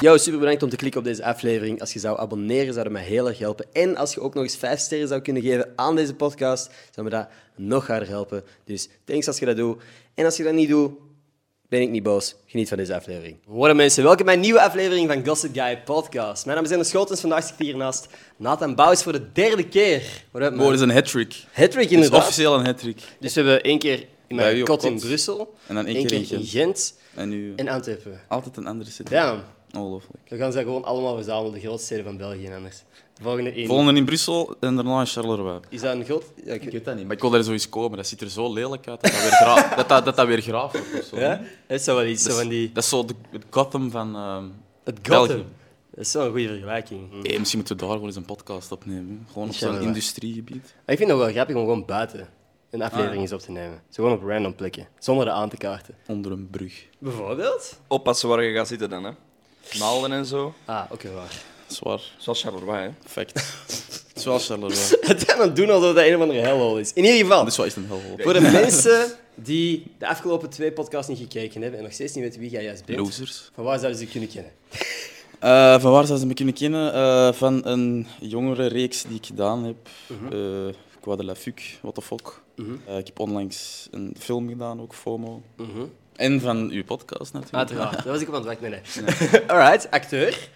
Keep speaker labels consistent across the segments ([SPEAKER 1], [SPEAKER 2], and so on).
[SPEAKER 1] Yo, super bedankt om te klikken op deze aflevering. Als je zou abonneren, zou dat mij heel erg helpen. En als je ook nog eens vijf sterren zou kunnen geven aan deze podcast, zou me dat nog harder helpen. Dus thanks als je dat doet. En als je dat niet doet, ben ik niet boos. Geniet van deze aflevering. Voilà mensen, welkom bij een nieuwe aflevering van Gossip Guy Podcast. Mijn naam is Ender Scholtens, vandaag zit ik hier naast Nathan Bouws voor de derde keer. What up, man?
[SPEAKER 2] Wow, dat is een hat-trick.
[SPEAKER 1] Hattrick
[SPEAKER 2] Dat is
[SPEAKER 1] inderdaad.
[SPEAKER 2] officieel een hat-trick.
[SPEAKER 1] Dus we hebben één keer in
[SPEAKER 2] Bij u
[SPEAKER 1] mijn
[SPEAKER 2] op
[SPEAKER 1] kot in
[SPEAKER 2] kot.
[SPEAKER 1] Brussel,
[SPEAKER 2] En dan één
[SPEAKER 1] één
[SPEAKER 2] keer
[SPEAKER 1] keer,
[SPEAKER 2] in
[SPEAKER 1] in Gent
[SPEAKER 2] En nu
[SPEAKER 1] en Antwerpen.
[SPEAKER 2] altijd een andere city.
[SPEAKER 1] Damn,
[SPEAKER 2] Ongelooflijk.
[SPEAKER 1] dan gaan ze gewoon allemaal verzamelen, de grootste steden van België en anders. De volgende één.
[SPEAKER 2] Volgende in Brussel en daarna in Charleroi.
[SPEAKER 1] Is dat een groot... Ja, ik-
[SPEAKER 2] weet dat niet, maar ik wil daar zoiets komen. Dat ziet er zo lelijk uit dat dat weer, gra- dat, dat, dat, dat weer graaf wordt of zo.
[SPEAKER 1] Ja? Dat is zo wel iets
[SPEAKER 2] Dat,
[SPEAKER 1] zo
[SPEAKER 2] is-
[SPEAKER 1] van die...
[SPEAKER 2] dat is zo de, het Gotham van... ehm,
[SPEAKER 1] Het
[SPEAKER 2] België.
[SPEAKER 1] Gotham. Dat is zo'n goede vergelijking. Hm.
[SPEAKER 2] eh, misschien moeten we daar gewoon eens een podcast opnemen. hè. Gewoon op zo'n
[SPEAKER 1] Charleroi.
[SPEAKER 2] industriegebied.
[SPEAKER 1] Maar ik vind het wel grappig om gewoon buiten een aflevering
[SPEAKER 2] Ah, ja.
[SPEAKER 1] eens op te nemen. Zo gewoon op random plekken, zonder de aan te kaarten.
[SPEAKER 2] Onder een brug.
[SPEAKER 1] Bijvoorbeeld?
[SPEAKER 3] Oppassen waar je gaat zitten dan, hè. Naalden en zo.
[SPEAKER 1] Ah, oké, waar.
[SPEAKER 2] Zwaar.
[SPEAKER 3] Zoals Charleroi, hè.
[SPEAKER 2] Fact. Het is wel Charleroi.
[SPEAKER 1] Het aan het doen alsof dat een of andere hellhole is. In ieder geval,
[SPEAKER 2] Dat is wel echt een hel.
[SPEAKER 1] voor de mensen die de afgelopen twee podcasts niet gekeken hebben en nog steeds niet weten wie jij juist bent,
[SPEAKER 2] Losers.
[SPEAKER 1] van waar zouden ze je kunnen kennen?
[SPEAKER 2] Eh, van waar zou ze me kunnen kennen? Eh, van een jongere reeks die ik gedaan heb.
[SPEAKER 1] Mhm.
[SPEAKER 2] Eh Qua de la Fuc, what the fuck. Eh, ik heb onlangs een film gedaan, ook FOMO. En van uw podcast natuurlijk.
[SPEAKER 1] Uiteraard, daar was ik op aan het wachten. Nee, nee. Alright, acteur,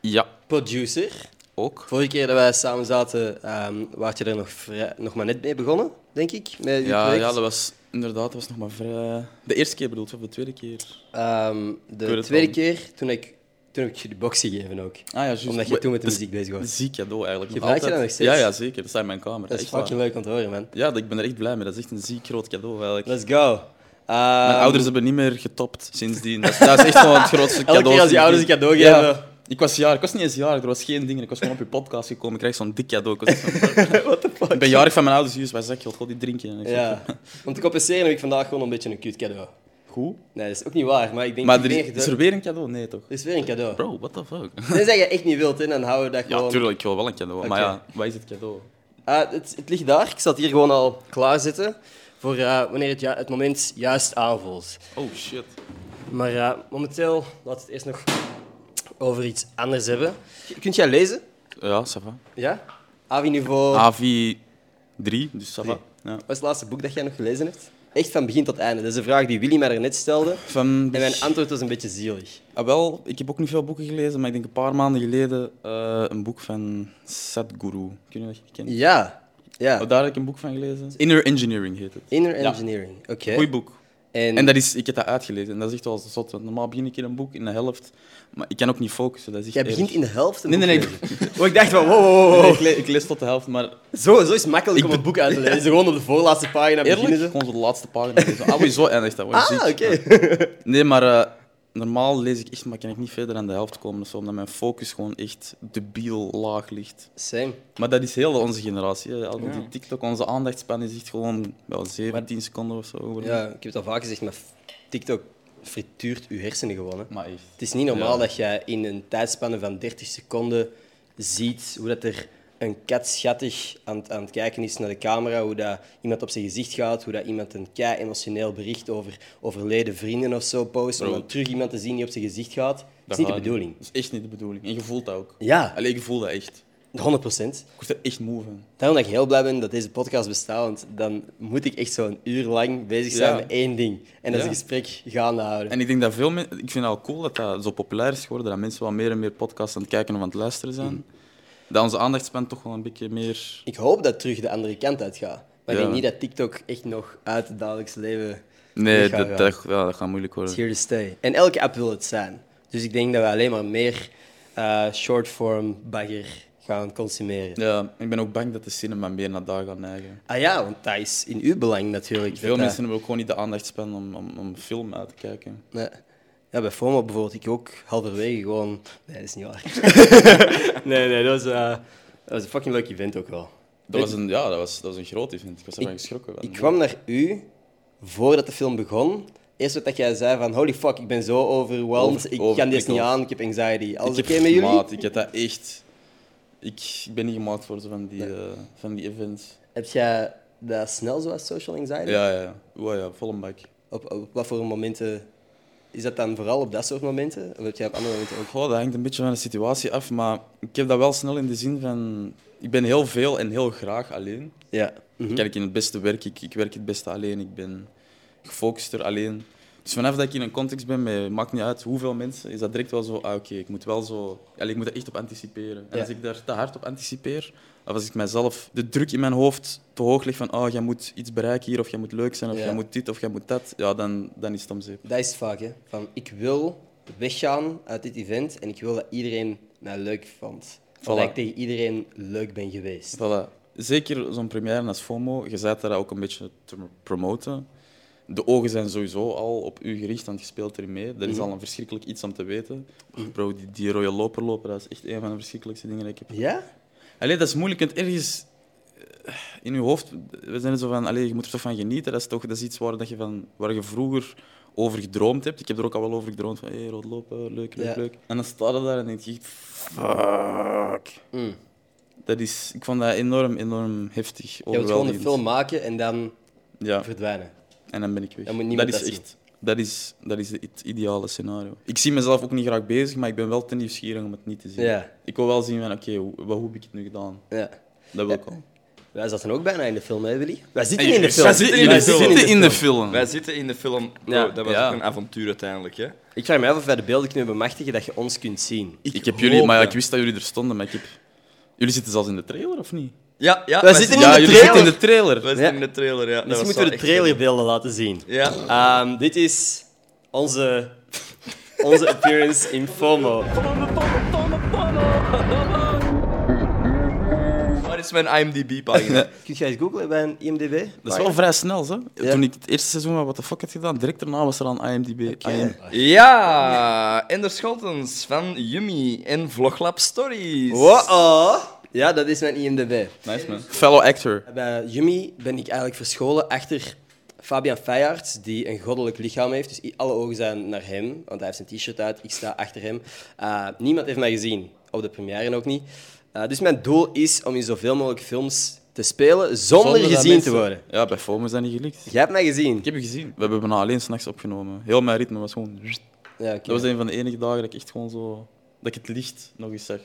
[SPEAKER 2] Ja,
[SPEAKER 1] producer.
[SPEAKER 2] ook.
[SPEAKER 1] Vorige keer dat wij samen zaten, ehm was je er nog, vrij- nog maar net mee begonnen, denk ik. Met je
[SPEAKER 2] Ja,
[SPEAKER 1] project.
[SPEAKER 2] ja, dat was inderdaad dat was nog maar vrij... De eerste keer bedoeld, of de tweede keer?
[SPEAKER 1] Ehm,
[SPEAKER 2] Ik weet
[SPEAKER 1] de
[SPEAKER 2] het
[SPEAKER 1] tweede
[SPEAKER 2] al.
[SPEAKER 1] keer, toen, ik, toen heb ik je de box gegeven ook.
[SPEAKER 2] Ah ja, juist.
[SPEAKER 1] Omdat je toen met de
[SPEAKER 2] Dat is
[SPEAKER 1] muziek bezig
[SPEAKER 2] een
[SPEAKER 1] was.
[SPEAKER 2] Ziek cadeau eigenlijk.
[SPEAKER 1] dus- Je
[SPEAKER 2] Nog
[SPEAKER 1] gebruikt je
[SPEAKER 2] altijd.
[SPEAKER 1] dat nog steeds?
[SPEAKER 2] Ja, ja, zeker. Dat staat in mijn kamer.
[SPEAKER 1] Dat is
[SPEAKER 2] echt waar.
[SPEAKER 1] fucking leuk om te horen, man.
[SPEAKER 2] Ja, dat- ik ben er echt blij mee. Dat is echt een ziek groot cadeau eigenlijk.
[SPEAKER 1] Let's go. Ehm,
[SPEAKER 2] Mijn ouders hebben niet meer getopt sindsdien. Dat is, dat is echt wel het grootste cadeau.
[SPEAKER 1] keer als je
[SPEAKER 2] die
[SPEAKER 1] ouders
[SPEAKER 2] ik-
[SPEAKER 1] een cadeau
[SPEAKER 2] Ja.
[SPEAKER 1] geven.
[SPEAKER 2] Ik was jarig, ik was niet eens jarig, er was geen ding. Ik was gewoon op je podcast gekomen, ik kreeg zo'n dik cadeau. Ik, was echt van, ik ben jarig van mijn ouders, juist, waar zeg je, god, die drinken. En ik zeg,
[SPEAKER 1] Ja. Om te compenseren heb ik vandaag gewoon een beetje een cute cadeau.
[SPEAKER 2] Goed.
[SPEAKER 1] Nee, dat is ook niet waar, maar ik denk
[SPEAKER 2] Maar
[SPEAKER 1] dat
[SPEAKER 2] er
[SPEAKER 1] ik
[SPEAKER 2] is,
[SPEAKER 1] meer
[SPEAKER 2] is
[SPEAKER 1] gedaan-
[SPEAKER 2] er weer een cadeau? Nee, toch?
[SPEAKER 1] Er is weer een cadeau.
[SPEAKER 2] Bro, what the fuck?
[SPEAKER 1] Tenzij je echt niet wilt, hè, dan houden we dat gewoon...
[SPEAKER 2] Ja, tuurlijk, ik wil wel een cadeau. Maar
[SPEAKER 1] Oké.
[SPEAKER 2] ja, wat is het cadeau?
[SPEAKER 1] Ah, het, het ligt daar. Ik zat hier gewoon al klaarzitten voor eh, wanneer het, ju- het moment juist aanvoelt.
[SPEAKER 2] Oh shit. maar
[SPEAKER 1] Maar eh, momenteel, laten we het eerst nog over iets anders hebben. Kunt jij lezen?
[SPEAKER 2] Ja, ça va.
[SPEAKER 1] Ja? AVI-niveau.
[SPEAKER 2] Ah. AVI 3, dus ça va. Ja.
[SPEAKER 1] Wat is het laatste boek dat jij nog gelezen hebt? Echt van begin tot einde. Dat is een vraag die Willy mij daarnet stelde.
[SPEAKER 2] Van dus-
[SPEAKER 1] En mijn antwoord was een beetje zielig.
[SPEAKER 2] Ah, wel, ik heb ook niet veel boeken gelezen, maar ik denk een paar maanden geleden eh, een boek van Sadhguru. Kun je dat kennen?
[SPEAKER 1] Ja. Ja.
[SPEAKER 2] Oh, daar heb ik een boek van gelezen. Inner Engineering heet het.
[SPEAKER 1] Inner
[SPEAKER 2] Ja.
[SPEAKER 1] Engineering. Oké.
[SPEAKER 2] Goed boek.
[SPEAKER 1] En,
[SPEAKER 2] En dat is, ik heb dat uitgelezen en dat is echt wel zot. Want normaal begin ik in een boek in de helft, maar ik kan ook niet focussen. Dat is echt
[SPEAKER 1] jij begint
[SPEAKER 2] erg.
[SPEAKER 1] in de helft. een
[SPEAKER 2] Nee, nee, nee.
[SPEAKER 1] boek
[SPEAKER 2] Ik,
[SPEAKER 1] te lezen. Oh, ik dacht van, wow, wow, wow,
[SPEAKER 2] nee,
[SPEAKER 1] wow.
[SPEAKER 2] ik, le- ik lees tot de helft, maar
[SPEAKER 1] Zo, zo is het makkelijk
[SPEAKER 2] Ik
[SPEAKER 1] om een
[SPEAKER 2] be-
[SPEAKER 1] boek uit te lezen. Gewoon op de voorlaatste pagina
[SPEAKER 2] eerlijk,
[SPEAKER 1] beginnen. ze.
[SPEAKER 2] gewoon zo de laatste pagina. lezen. Ah, zo eindigt dat. word je
[SPEAKER 1] Ah, oké.
[SPEAKER 2] ziek. Nee, maar eh, normaal lees ik echt, maar kan ik niet verder aan de helft komen of zo, omdat mijn focus gewoon echt debiel laag ligt.
[SPEAKER 1] Same.
[SPEAKER 2] Maar dat is heel onze generatie. Hè. Al die TikTok, onze aandachtspan is echt gewoon wel 17 seconden of zo. geworden.
[SPEAKER 1] Ja, ik heb het al vaak gezegd, maar TikTok frituurt uw hersenen gewoon. Hè.
[SPEAKER 2] Maar echt.
[SPEAKER 1] Het is niet normaal
[SPEAKER 2] Ja.
[SPEAKER 1] dat jij in een tijdspanne van 30 seconden ziet hoe dat er een kat schattig aan, het- aan het kijken is naar de camera, hoe dat iemand op zijn gezicht gaat, hoe dat iemand een kei emotioneel bericht over overleden vrienden of zo post, om
[SPEAKER 2] Bro.
[SPEAKER 1] dan terug iemand te zien die op zijn gezicht gaat. Dat is
[SPEAKER 2] Dat
[SPEAKER 1] niet de
[SPEAKER 2] gaat
[SPEAKER 1] bedoeling.
[SPEAKER 2] Dat is echt niet de bedoeling. En je voelt dat ook.
[SPEAKER 1] Ja,
[SPEAKER 2] Alleen ik voel dat echt.
[SPEAKER 1] 100 procent.
[SPEAKER 2] Ik word er echt moe van.
[SPEAKER 1] Daarom dat ik heel blij ben dat deze podcast bestaat, want dan moet ik echt zo'n uur lang bezig zijn
[SPEAKER 2] Ja.
[SPEAKER 1] met één ding. En dat is
[SPEAKER 2] Ja.
[SPEAKER 1] een gesprek gaande houden.
[SPEAKER 2] En ik denk dat veel mensen. Ik vind het al cool dat dat zo populair is geworden. Dat mensen wel meer en meer podcasts aan het kijken of aan het luisteren zijn.
[SPEAKER 1] Mm.
[SPEAKER 2] Dat onze aandachtspan toch wel een beetje meer.
[SPEAKER 1] Ik hoop dat het terug de andere kant uit gaat. Maar ik
[SPEAKER 2] Ja.
[SPEAKER 1] denk niet dat TikTok echt nog uit het dagelijks leven
[SPEAKER 2] Nee,
[SPEAKER 1] weg gaat
[SPEAKER 2] dat,
[SPEAKER 1] gaan.
[SPEAKER 2] dat, ja, dat gaat moeilijk worden.
[SPEAKER 1] It's here to stay. En elke app wil het zijn. Dus ik denk dat we alleen maar meer eh short-form bagger gaan consumeren.
[SPEAKER 2] Ja, ik ben ook bang dat de cinema meer naar daar gaat neigen.
[SPEAKER 1] Ah ja, want dat is in uw belang natuurlijk. dat
[SPEAKER 2] Veel
[SPEAKER 1] dat-
[SPEAKER 2] mensen hebben ook gewoon niet de aandachtspan om, om, om film uit te kijken.
[SPEAKER 1] Nee. Ja, bij FOMO bijvoorbeeld, ik ook halverwege gewoon... Nee, dat is niet waar. nee, nee, dat was, eh, dat was een fucking leuk event ook wel.
[SPEAKER 2] Dat was een, ja, dat was, dat was een groot event. Ik was ervan geschrokken.
[SPEAKER 1] Ik kwam naar u voordat de film begon. Eerst wat dat jij zei van holy fuck, ik ben zo overwhelmed.
[SPEAKER 2] Over-
[SPEAKER 1] ik kan dit
[SPEAKER 2] overprikkeld.
[SPEAKER 1] niet aan, ik heb anxiety. Alles
[SPEAKER 2] Ik
[SPEAKER 1] oké
[SPEAKER 2] heb-
[SPEAKER 1] met jullie?
[SPEAKER 2] Maat, ik heb dat echt... Ik, ik ben niet gemaakt voor zo van die, eh, van die events.
[SPEAKER 1] Heb jij dat snel zoals social anxiety?
[SPEAKER 2] Ja, ja, ja. Wow, ja, vol een bak.
[SPEAKER 1] Op, op wat voor momenten Is dat dan vooral op dat soort momenten? Of heb jij op andere momenten ook...
[SPEAKER 2] Goh, dat hangt een beetje van de situatie af, maar ik heb dat wel snel in de zin van... Ik ben heel veel en heel graag alleen.
[SPEAKER 1] Ja.
[SPEAKER 2] Ik Kijk, in het beste werk, ik, ik werk het beste alleen, ik ben gefocuster alleen. Dus vanaf dat ik in een context ben, met, maakt niet uit hoeveel mensen, is dat direct wel zo, ah oké, ik moet wel zo... Allee, ik moet er echt op anticiperen. En
[SPEAKER 1] Ja.
[SPEAKER 2] als ik daar te hard op anticipeer, of als ik mezelf de druk in mijn hoofd te hoog leg van, ah, jij moet iets bereiken hier, of jij moet leuk zijn, of
[SPEAKER 1] Ja.
[SPEAKER 2] jij moet dit, of jij moet dat, ja, dan, dan is het om zeep.
[SPEAKER 1] Dat is het vaak, hè. Van, ik wil weggaan uit dit event en ik wil dat iedereen mij leuk vond. Of
[SPEAKER 2] Voilà.
[SPEAKER 1] dat ik tegen iedereen leuk ben geweest.
[SPEAKER 2] Voilà. Zeker zo'n première als FOMO, je zet daar ook een beetje te promoten. De ogen zijn sowieso al op u gericht, want je speelt erin mee. Dat is al een verschrikkelijk iets om te weten. Bro, die, die rode loper lopen, dat is echt een van de verschrikkelijkste dingen die ik heb.
[SPEAKER 1] Ja?
[SPEAKER 2] Allee, dat is moeilijk, want ergens eh, in je hoofd, we zijn er zo van, allee, je moet er toch van genieten. Dat is toch dat is iets waar, dat je, van, waar je vroeger over gedroomd hebt. Ik heb er ook al wel over gedroomd van, hé, hey, rood lopen, leuk, leuk,
[SPEAKER 1] Ja.
[SPEAKER 2] leuk. En dan sta je daar en denk je echt, fuck.
[SPEAKER 1] Mm.
[SPEAKER 2] Dat is, ik vond dat enorm, enorm heftig.
[SPEAKER 1] Je wilt gewoon een
[SPEAKER 2] overweldigend.
[SPEAKER 1] film maken en dan
[SPEAKER 2] Ja,
[SPEAKER 1] verdwijnen.
[SPEAKER 2] en dan ben ik weg.
[SPEAKER 1] Dan moet niemand
[SPEAKER 2] dat is
[SPEAKER 1] dat zien.
[SPEAKER 2] echt. Dat is, dat is het ideale scenario. Ik zie mezelf ook niet graag bezig, maar ik ben wel te nieuwsgierig om het niet te zien.
[SPEAKER 1] Ja.
[SPEAKER 2] Ik wil wel zien van, oké, hoe, wat- hoe heb ik het nu gedaan?
[SPEAKER 1] Ja.
[SPEAKER 2] Dat wil ik al.
[SPEAKER 1] Wij zaten ook bijna in de film, hè, Willy? Wij zitten
[SPEAKER 3] En
[SPEAKER 1] Eh, in de
[SPEAKER 3] jullie
[SPEAKER 1] film.
[SPEAKER 3] zaten in de
[SPEAKER 1] Wij
[SPEAKER 3] film.
[SPEAKER 1] zitten in de film.
[SPEAKER 2] film.
[SPEAKER 3] Wij zitten in de film. Bro,
[SPEAKER 1] Ja.
[SPEAKER 3] dat was
[SPEAKER 2] Ja.
[SPEAKER 3] ook een avontuur uiteindelijk, hè?
[SPEAKER 1] Ik vraag me af of wij de beelden kunnen bemachtigen dat je ons kunt zien.
[SPEAKER 2] Ik,
[SPEAKER 3] Ik
[SPEAKER 2] heb jullie,
[SPEAKER 3] hoop
[SPEAKER 2] maar ja,
[SPEAKER 3] dat.
[SPEAKER 2] ik wist dat jullie er stonden, maar ik heb... Jullie zitten zelfs in de trailer, of niet?
[SPEAKER 3] Ja, ja.
[SPEAKER 1] Wij zitten
[SPEAKER 2] ja,
[SPEAKER 1] in de
[SPEAKER 2] jullie
[SPEAKER 1] trailer.
[SPEAKER 2] zitten in de trailer.
[SPEAKER 3] Wij
[SPEAKER 1] Ja.
[SPEAKER 3] zitten in de trailer, ja.
[SPEAKER 1] Misschien moeten we de trailerbeelden laten zien.
[SPEAKER 3] Ja.
[SPEAKER 1] Ehm, dit is onze, onze appearance in FOMO.
[SPEAKER 3] Waar is mijn IMDb-pagina?
[SPEAKER 1] Kun jij eens googlen bij een IMDb?
[SPEAKER 2] Dat is wel vrij snel, hè?
[SPEAKER 1] Ja.
[SPEAKER 2] Toen ik het eerste seizoen van What the Fuck had gedaan, direct daarna was er aan IMDb. IM.
[SPEAKER 3] ja, Ender Scholtens van Yummy en Vloglab Stories.
[SPEAKER 1] Wow. Ja, dat is mijn IMDb.
[SPEAKER 2] Nice, man. Fellow actor.
[SPEAKER 1] Bij Jummy Eh, ben ik eigenlijk verscholen achter Fabian Feijarts, die een goddelijk lichaam heeft. Dus i- alle ogen zijn naar hem, want hij heeft zijn t-shirt uit. Ik sta achter hem. Eh, niemand heeft mij gezien, op de première ook niet. Eh, dus mijn doel is om in zoveel mogelijk films te spelen zonder,
[SPEAKER 2] dat
[SPEAKER 1] gezien
[SPEAKER 2] mensen-
[SPEAKER 1] te worden.
[SPEAKER 2] Ja, bij FOMO is dat niet gelukt.
[SPEAKER 1] Jij hebt mij gezien.
[SPEAKER 2] Ik heb je gezien. We hebben bijna alleen s'nachts opgenomen. Heel mijn ritme was gewoon...
[SPEAKER 1] Ja, oké.
[SPEAKER 2] Dat was een van de enige dagen dat ik echt gewoon zo... Dat ik het licht nog eens zag.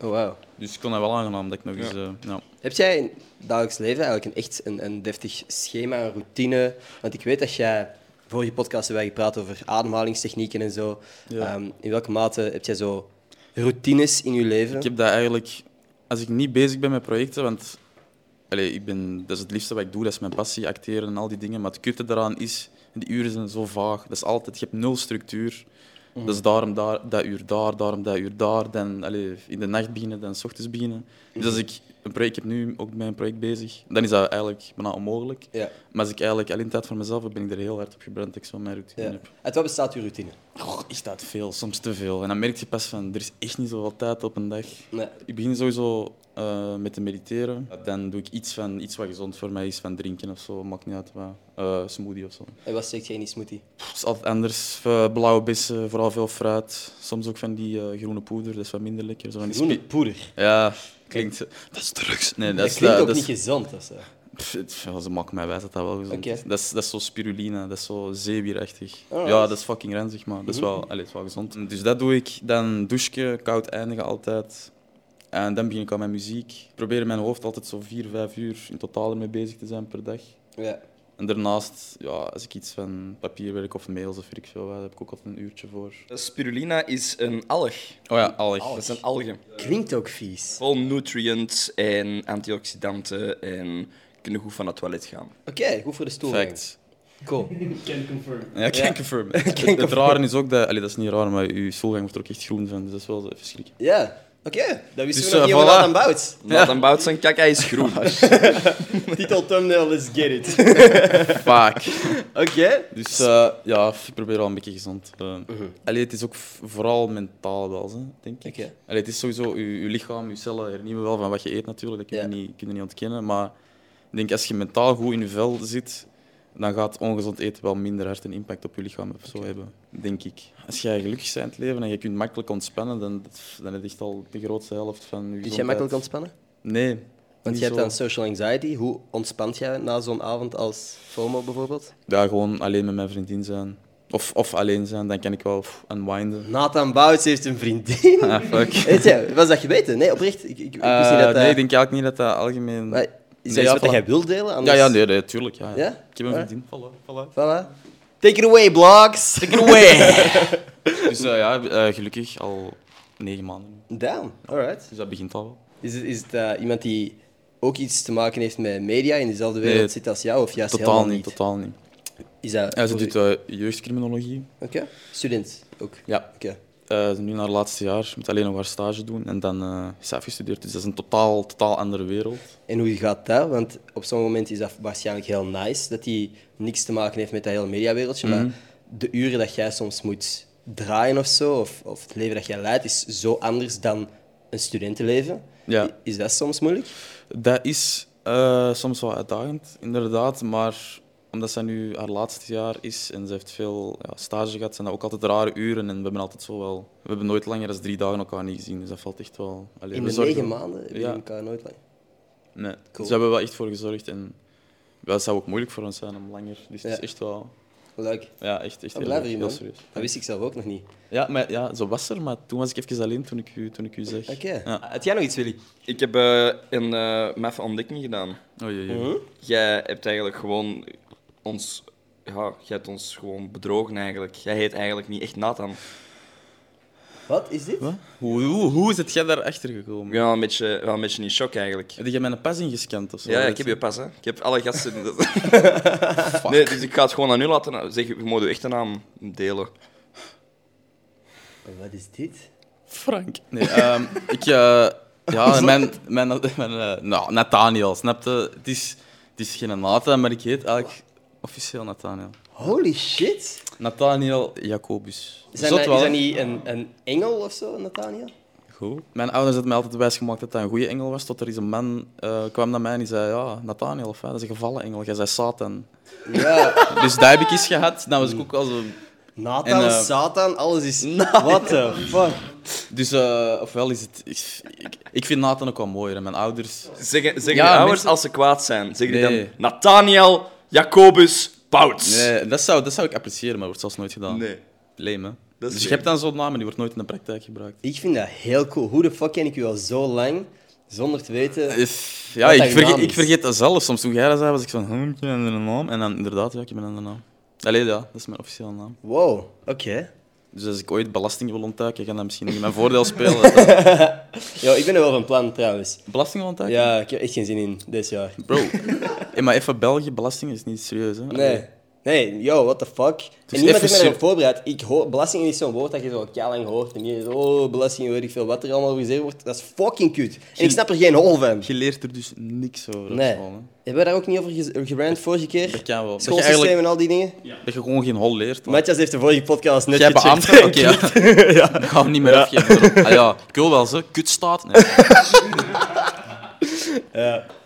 [SPEAKER 1] Oh, wow.
[SPEAKER 2] Dus ik kon dat wel aangenaam dat ik nog eens... eh, ja.
[SPEAKER 1] Heb jij in het dagelijks leven eigenlijk een, echt een, een deftig schema, een routine? Want ik weet dat jij, vorige podcast hebben wij gepraat over ademhalingstechnieken en zo.
[SPEAKER 2] Ja.
[SPEAKER 1] Ehm, in welke mate heb jij zo routines in je leven?
[SPEAKER 2] Ik heb dat eigenlijk... Als ik niet bezig ben met projecten, want... Allee, ik ben, dat is het liefste wat ik doe, dat is mijn passie, acteren en al die dingen. Maar het kutte daaraan is, die uren zijn zo vaag. Dat is altijd, je hebt nul structuur. Dat is daarom daar, dat uur daar, daarom dat uur daar. Dan allee, in de nacht beginnen, dan s ochtends beginnen. Dus als ik een project, ik heb nu ook met een project bezig, dan is dat eigenlijk bijna onmogelijk.
[SPEAKER 1] Ja.
[SPEAKER 2] Maar als ik eigenlijk alleen tijd voor mezelf heb, ben ik er heel hard op gebrand dat ik zo mijn routine
[SPEAKER 1] Ja.
[SPEAKER 2] heb.
[SPEAKER 1] Uit wat bestaat je routine?
[SPEAKER 2] Goh, is dat veel? Soms te veel. En dan merk je pas van, er is echt niet zoveel tijd op een dag.
[SPEAKER 1] Nee.
[SPEAKER 2] Ik begin sowieso eh, met te mediteren. Dan doe ik iets, van, iets wat gezond voor mij is, van drinken of zo, maakt niet uit wat. Eh, smoothie of zo.
[SPEAKER 1] En wat steekt jij in die smoothie?
[SPEAKER 2] Het is altijd anders. Eh, Blauwe bessen, vooral veel fruit. Soms ook van die eh, groene poeder, dat is wat minder lekker. Zo van die
[SPEAKER 1] Groene
[SPEAKER 2] spi-
[SPEAKER 1] poeder.
[SPEAKER 2] Ja, klinkt... Dat is drugs. Nee, dat,
[SPEAKER 1] Dat,
[SPEAKER 2] is, eh,
[SPEAKER 1] klinkt ook
[SPEAKER 2] dat
[SPEAKER 1] niet
[SPEAKER 2] is-
[SPEAKER 1] gezond. of zo.
[SPEAKER 2] Pff, het- ja, ze maken mij wijs dat dat wel gezond
[SPEAKER 1] Oké.
[SPEAKER 2] is. Dat is. Dat is zo spirulina, dat is zo zeewierachtig.
[SPEAKER 1] Alright.
[SPEAKER 2] Ja, dat is fucking ranzig, maar dat is wel, allee, het is wel gezond. Dus dat doe ik. Dan douchen, koud eindigen altijd. En dan begin ik aan mijn muziek. Ik probeer in mijn hoofd altijd zo vier, vijf uur in totaal ermee bezig te zijn per dag.
[SPEAKER 1] Ja.
[SPEAKER 2] En daarnaast, ja, als ik iets van papierwerk of mails of weet ik veel, wat, daar heb ik ook altijd een uurtje voor.
[SPEAKER 3] Spirulina is een alg.
[SPEAKER 2] Oh ja, allig.
[SPEAKER 3] Dat is een algen.
[SPEAKER 1] Klinkt ook vies.
[SPEAKER 3] Vol nutrients en antioxidanten en kunnen goed van het toilet gaan.
[SPEAKER 1] Oké, goed voor de stoel.
[SPEAKER 2] Fact.
[SPEAKER 1] Cool.
[SPEAKER 2] Ja,
[SPEAKER 1] Ja.
[SPEAKER 2] can confirm. Het, het rare is ook dat, allee, dat is niet raar, maar uw stoelgang wordt er ook echt groen van, dus dat is wel even schrikken.
[SPEAKER 1] Ja. Oké, dat wisten
[SPEAKER 2] Dus,
[SPEAKER 1] we nog
[SPEAKER 2] eh,
[SPEAKER 1] niet helemaal
[SPEAKER 2] voilà.
[SPEAKER 1] aan bouwt.
[SPEAKER 3] Ja. Dan bouwt zijn kak, hij is groen.
[SPEAKER 1] Titel, thumbnail, let's get it.
[SPEAKER 2] Vaak.
[SPEAKER 1] Oké.
[SPEAKER 2] Dus eh, ja, ik probeer wel een beetje gezond. eh.
[SPEAKER 1] Mhm.
[SPEAKER 2] Allee, het is ook v- vooral mentaal wel, zo, denk ik.
[SPEAKER 1] Oké.
[SPEAKER 2] Allee, het is sowieso, je, je lichaam, je cellen hernieuwen wel van wat je eet natuurlijk, dat kun je,
[SPEAKER 1] Ja.
[SPEAKER 2] niet, kun je niet ontkennen. Maar ik denk, als je mentaal goed in je vel zit, dan gaat ongezond eten wel minder hard een impact op je lichaam of zo hebben, denk ik. Als jij gelukkig bent in het leven en je kunt makkelijk ontspannen, dan, dan heb je echt al de grootste helft van je
[SPEAKER 1] Kun
[SPEAKER 2] gezondheid.
[SPEAKER 1] Dus jij makkelijk ontspannen?
[SPEAKER 2] Nee.
[SPEAKER 1] Want
[SPEAKER 2] niet
[SPEAKER 1] je hebt
[SPEAKER 2] zo.
[SPEAKER 1] dan social anxiety. Hoe ontspant jij na zo'n avond als FOMO bijvoorbeeld?
[SPEAKER 2] Ja, gewoon alleen met mijn vriendin zijn. Of, of alleen zijn, dan kan ik wel pff, unwinden.
[SPEAKER 1] Nathan Bouts heeft een vriendin.
[SPEAKER 2] Ah, fuck.
[SPEAKER 1] Weet je, was dat geweten? Nee, oprecht. Ik, ik, ik wist niet
[SPEAKER 2] Eh,
[SPEAKER 1] dat dat...
[SPEAKER 2] nee, ik denk eigenlijk niet dat dat algemeen...
[SPEAKER 1] Maar, is dat
[SPEAKER 2] Nee,
[SPEAKER 1] iets
[SPEAKER 2] ja,
[SPEAKER 1] wat
[SPEAKER 2] voilà.
[SPEAKER 1] jij wilt delen?
[SPEAKER 2] Ja,
[SPEAKER 1] Anders-
[SPEAKER 2] ja, nee, nee, tuurlijk. Ja, ja.
[SPEAKER 1] Ja?
[SPEAKER 2] Ik heb een
[SPEAKER 1] Alright.
[SPEAKER 2] vriendin. Voilà, voilà.
[SPEAKER 1] Voilà. Take it away, blogs. Take it away.
[SPEAKER 2] Dus eh, ja, eh, gelukkig al negen maanden.
[SPEAKER 1] Damn, alright.
[SPEAKER 2] Dus dat begint al wel.
[SPEAKER 1] Is het, is het eh, iemand die ook iets te maken heeft met media in dezelfde wereld
[SPEAKER 2] Nee,
[SPEAKER 1] zit als jou? Of juist
[SPEAKER 2] Totaal
[SPEAKER 1] helemaal
[SPEAKER 2] niet,
[SPEAKER 1] niet?
[SPEAKER 2] totaal niet.
[SPEAKER 1] Is dat...
[SPEAKER 2] Ja, ze doet eh, jeugdcriminologie.
[SPEAKER 1] Oké. Student ook. Oké.
[SPEAKER 2] Ja. Eh, ze is nu naar haar laatste jaar, ze moet alleen nog haar stage doen en dan eh, is ze afgestudeerd. Dus dat is een totaal, totaal andere wereld.
[SPEAKER 1] En hoe gaat dat? Want op zo'n moment is dat waarschijnlijk heel nice, dat hij niks te maken heeft met dat hele mediawereldje.
[SPEAKER 2] Mhm.
[SPEAKER 1] Maar de uren dat jij soms moet draaien of zo, of, of het leven dat jij leidt, is zo anders dan een studentenleven.
[SPEAKER 2] Ja.
[SPEAKER 1] I- Is dat soms moeilijk?
[SPEAKER 2] Dat is eh, soms wel uitdagend, inderdaad, maar omdat zij nu haar laatste jaar is en ze heeft veel ja, stage gehad, zijn dat ook altijd rare uren en we hebben altijd zo wel... We hebben nooit langer dan drie dagen elkaar niet gezien, dus dat valt echt wel... Allee,
[SPEAKER 1] In
[SPEAKER 2] we
[SPEAKER 1] de
[SPEAKER 2] zorgen-
[SPEAKER 1] negen maanden heb je
[SPEAKER 2] Ja.
[SPEAKER 1] elkaar nooit lang.
[SPEAKER 2] Nee, dus
[SPEAKER 1] Cool.
[SPEAKER 2] daar hebben we wel echt voor gezorgd en ja, dat zou ook moeilijk voor ons zijn om langer, dus
[SPEAKER 1] Ja.
[SPEAKER 2] het is echt wel...
[SPEAKER 1] Leuk.
[SPEAKER 2] Ja, echt, echt
[SPEAKER 1] Ik
[SPEAKER 2] heel,
[SPEAKER 1] blijf
[SPEAKER 2] heel
[SPEAKER 1] hier, man.
[SPEAKER 2] serieus.
[SPEAKER 1] Dat wist ik zelf ook nog niet.
[SPEAKER 2] Ja, maar, ja, zo was er, maar toen was ik even alleen toen ik u, toen ik u zeg.
[SPEAKER 1] Oké.
[SPEAKER 2] Ja.
[SPEAKER 3] Had jij nog iets, Willy? Ik heb eh, een eh mef ontdekking gedaan.
[SPEAKER 2] Oh jee. jee.
[SPEAKER 3] Jij hebt eigenlijk gewoon ons... Ja, jij hebt ons gewoon bedrogen eigenlijk. Jij heet eigenlijk niet echt Nathan.
[SPEAKER 1] Wat is dit?
[SPEAKER 2] Wat? Hoe, hoe, hoe is het jij daarachter gekomen?
[SPEAKER 3] Ik ben wel een beetje, wel een beetje in shock eigenlijk.
[SPEAKER 2] Heb jij mijn pas ingescand of zo?
[SPEAKER 3] Ja, ja, ik heb je pas, hè. Ik heb alle gasten... nee, dus ik ga het gewoon aan u laten. Nou, Zeg, je moet je echte naam delen.
[SPEAKER 1] Wat is dit?
[SPEAKER 2] Frank. Nee, ehm, ik... eh, ja, mijn... mijn, mijn eh, nou, Nathaniel, snapte? Het is, het is geen Nathan, maar ik heet eigenlijk officieel Nathaniel.
[SPEAKER 1] Holy shit!
[SPEAKER 2] Nathaniel Jacobus.
[SPEAKER 1] Zijn
[SPEAKER 2] Zot
[SPEAKER 1] dat,
[SPEAKER 2] wel,
[SPEAKER 1] is
[SPEAKER 2] hè?
[SPEAKER 1] dat niet een, een engel of zo, Nathaniel?
[SPEAKER 2] Goed. Mijn ouders hadden mij altijd wijsgemaakt dat dat een goede engel was, tot er eens een man eh, kwam naar mij en die zei, ja, Nathaniel, of, hè, dat is een gevallen engel, jij zei Satan.
[SPEAKER 1] Ja.
[SPEAKER 2] Dus dat heb ik eens gehad. Dan was ik ook al zo...
[SPEAKER 1] Nathan,
[SPEAKER 2] En, eh,
[SPEAKER 1] Satan, alles is... What the fuck?
[SPEAKER 2] Dus, eh, ofwel is het... Ik, ik, ik vind Nathan ook wel mooier. En mijn ouders...
[SPEAKER 3] Zeggen, zeggen
[SPEAKER 2] Ja,
[SPEAKER 3] je ouders
[SPEAKER 2] mensen-
[SPEAKER 3] als ze kwaad zijn? Zeggen die
[SPEAKER 2] Nee.
[SPEAKER 3] dan Nathaniel Jacobus Pouts?
[SPEAKER 2] Nee, dat zou, dat zou ik appreciëren, maar wordt zelfs nooit gedaan.
[SPEAKER 3] Nee.
[SPEAKER 2] Leem, hè?
[SPEAKER 3] is
[SPEAKER 2] Dus je
[SPEAKER 3] leem.
[SPEAKER 2] hebt dan zo'n naam en die wordt nooit in de praktijk gebruikt.
[SPEAKER 1] Ik vind dat heel cool. Hoe de fuck ken ik u al zo lang zonder te weten?
[SPEAKER 2] If- Ja,
[SPEAKER 1] Wat
[SPEAKER 2] ik
[SPEAKER 1] dat je
[SPEAKER 2] vergeet,
[SPEAKER 1] naam
[SPEAKER 2] ik
[SPEAKER 1] is.
[SPEAKER 2] vergeet dat zelf. Soms toen jij dat zei, was ik van... Hm, ik heb een andere naam. En dan inderdaad, ja, ik heb een andere naam. Allee, ja, dat is mijn officiële naam.
[SPEAKER 1] Wow, oké.
[SPEAKER 2] Dus als ik ooit belasting wil ontduiken, kan dat misschien niet in mijn voordeel spelen. Dat dat-
[SPEAKER 1] Ja, ik ben er wel van plan trouwens.
[SPEAKER 2] belasting ontduiken?
[SPEAKER 1] Ja, ik heb echt geen zin in dit jaar.
[SPEAKER 2] Bro. Hey, maar even België, belasting is niet serieus, hè?
[SPEAKER 1] Nee. Nee, yo, what the fuck? en niemand heeft
[SPEAKER 2] even
[SPEAKER 1] mij
[SPEAKER 2] ser-
[SPEAKER 1] erop voorbereid. Ik hoor, belasting is zo'n woord dat je zo lang hoort. En je zo, oh, belasting, weet ik veel wat er allemaal gezegd wordt. Dat is fucking kut. En ik snap er geen hol van.
[SPEAKER 2] Je leert er dus niks over. op
[SPEAKER 1] Nee.
[SPEAKER 2] school, hè.
[SPEAKER 1] Hebben we daar ook niet over ge- gerand vorige keer?
[SPEAKER 2] Dat kan wel. Dat je
[SPEAKER 1] Schoolsysteem
[SPEAKER 2] eigenlijk-
[SPEAKER 1] en al die dingen?
[SPEAKER 2] Dat je gewoon geen hol leert. maar-
[SPEAKER 1] Matthias heeft de vorige podcast net
[SPEAKER 2] Jij
[SPEAKER 1] gecheckt.
[SPEAKER 2] beambten? Oké, ja. Ik ga hem niet meer afgeven. erop. Ah, ja. Ik wil wel ze. Kutstaat. Nee.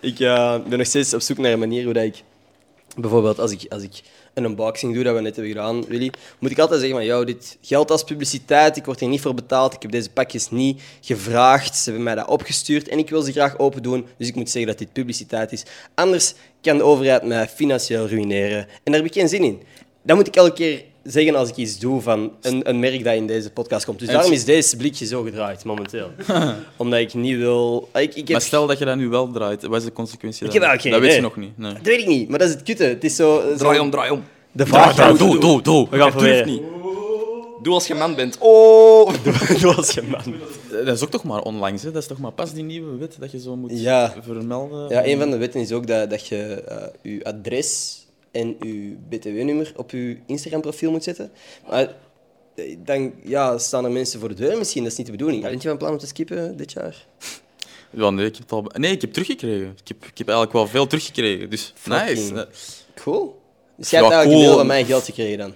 [SPEAKER 1] Ik eh, ben nog steeds op zoek naar een manier hoe dat ik... Bijvoorbeeld als ik, als ik een unboxing doe, dat we net hebben gedaan, Willy, moet ik altijd zeggen van, yo, dit geldt als publiciteit, ik word hier niet voor betaald, ik heb deze pakjes niet gevraagd, ze hebben mij dat opgestuurd en ik wil ze graag open doen, dus ik moet zeggen dat dit publiciteit is. Anders kan de overheid mij financieel ruïneren en daar heb ik geen zin in. Dat moet ik elke keer zeggen als ik iets doe van een, een merk dat in deze podcast komt. Dus
[SPEAKER 2] En-
[SPEAKER 1] daarom is deze blikje zo gedraaid momenteel. Omdat ik niet wil... Ik, ik heb
[SPEAKER 2] Maar stel dat je dat nu wel draait, wat is de consequentie
[SPEAKER 1] Ik
[SPEAKER 2] daarvan?
[SPEAKER 1] heb eigenlijk
[SPEAKER 2] Dat
[SPEAKER 1] geen
[SPEAKER 2] weet je nog
[SPEAKER 1] idee.
[SPEAKER 2] niet. Nee.
[SPEAKER 1] Dat weet ik niet, maar dat is het kutte. Het is zo... zo-
[SPEAKER 3] Draai om, draai om.
[SPEAKER 1] De vraag...
[SPEAKER 2] doe, doe, doe.
[SPEAKER 1] We gaan
[SPEAKER 3] Doe het
[SPEAKER 1] proberen.
[SPEAKER 3] niet. Doe als je man bent. Oh!
[SPEAKER 1] Doe als je man.
[SPEAKER 2] Eh, Dat is ook toch maar onlangs, hè? Dat is toch maar pas die nieuwe wet dat je zo moet
[SPEAKER 1] Ja.
[SPEAKER 2] vermelden.
[SPEAKER 1] Ja, een van de wetten is ook dat, dat je eh, je adres en je btw-nummer op je Instagram-profiel moet zetten. Maar eh, dan ja, staan er mensen voor de deur misschien, dat is niet de bedoeling. Bent je van plan om te skippen dit jaar?
[SPEAKER 2] Ja, nee, ik heb het al... be- Nee, ik heb teruggekregen. Ik heb, ik heb eigenlijk wel veel teruggekregen, dus... Nice.
[SPEAKER 1] Fucking.
[SPEAKER 2] Nee.
[SPEAKER 1] Cool. Dus jij
[SPEAKER 2] Ja,
[SPEAKER 1] hebt eigenlijk een deel
[SPEAKER 2] cool.
[SPEAKER 1] van mijn geld gekregen dan.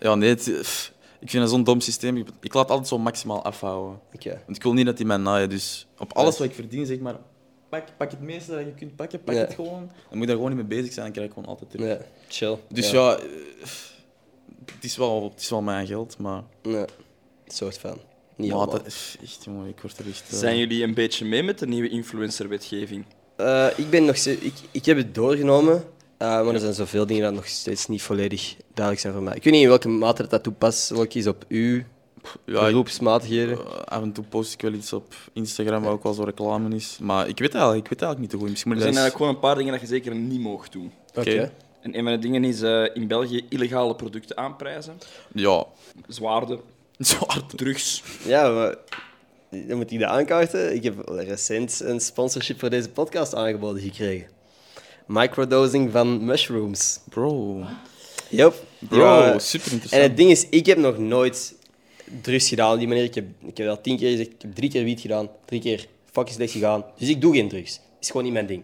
[SPEAKER 2] Ja, nee, het- pff, ik vind dat zo'n dom systeem. Ik- Ik laat altijd zo maximaal afhouden.
[SPEAKER 1] Oké.
[SPEAKER 2] Want ik wil niet dat die mij naaien, dus op alles wat ik verdien, zeg maar, pak, pak het meeste dat je kunt pakken, pak
[SPEAKER 1] Ja.
[SPEAKER 2] het gewoon. Dan moet je daar gewoon niet mee bezig zijn, dan krijg ik gewoon altijd terug.
[SPEAKER 1] Ja, chill.
[SPEAKER 2] Dus ja, eh, het, is wel, het is wel mijn geld, maar,
[SPEAKER 1] Ja. Soort van. Niet
[SPEAKER 2] maar
[SPEAKER 1] allemaal.
[SPEAKER 2] dat is echt, jongen, ik word er echt... eh,
[SPEAKER 3] Zijn jullie een beetje mee met de nieuwe influencerwetgeving?
[SPEAKER 1] Eh, ik ben nog steeds... Ik, ik heb het doorgenomen. Eh, maar er zijn zoveel dingen dat nog steeds niet volledig duidelijk zijn voor mij. Ik weet niet in welke mate dat, dat toepasselijk is op u,
[SPEAKER 2] Ja, ik-
[SPEAKER 1] beroepsmatigheden.
[SPEAKER 2] eh, af en toe post ik wel iets op Instagram, wat ook wel zo reclame is. Maar ik weet eigenlijk, ik weet eigenlijk niet te goed. Misschien
[SPEAKER 3] Er
[SPEAKER 2] moet
[SPEAKER 3] zijn
[SPEAKER 2] ik dat Eh.
[SPEAKER 3] eigenlijk
[SPEAKER 2] eens-
[SPEAKER 3] gewoon een paar dingen dat je zeker niet mag doen.
[SPEAKER 1] Oké.
[SPEAKER 2] oké.
[SPEAKER 3] En een van de dingen is eh, in België illegale producten aanprijzen.
[SPEAKER 2] Ja,
[SPEAKER 3] Zwaarden,
[SPEAKER 2] zwart.
[SPEAKER 3] drugs.
[SPEAKER 1] Ja, maar dan moet ik dat aankaarten. Ik heb recent een sponsorship voor deze podcast aangeboden gekregen. Microdosing van mushrooms.
[SPEAKER 2] Bro,
[SPEAKER 1] Yep.
[SPEAKER 2] bro,
[SPEAKER 1] Ja.
[SPEAKER 2] super
[SPEAKER 1] eh, En
[SPEAKER 2] interessant.
[SPEAKER 1] het ding is, ik heb nog nooit drugs gedaan op die manier. Ik heb, ik heb dat tien keer gezegd. Ik heb drie keer wiet gedaan. Drie keer fucking slecht gegaan. Dus ik doe geen drugs. Is gewoon niet mijn ding.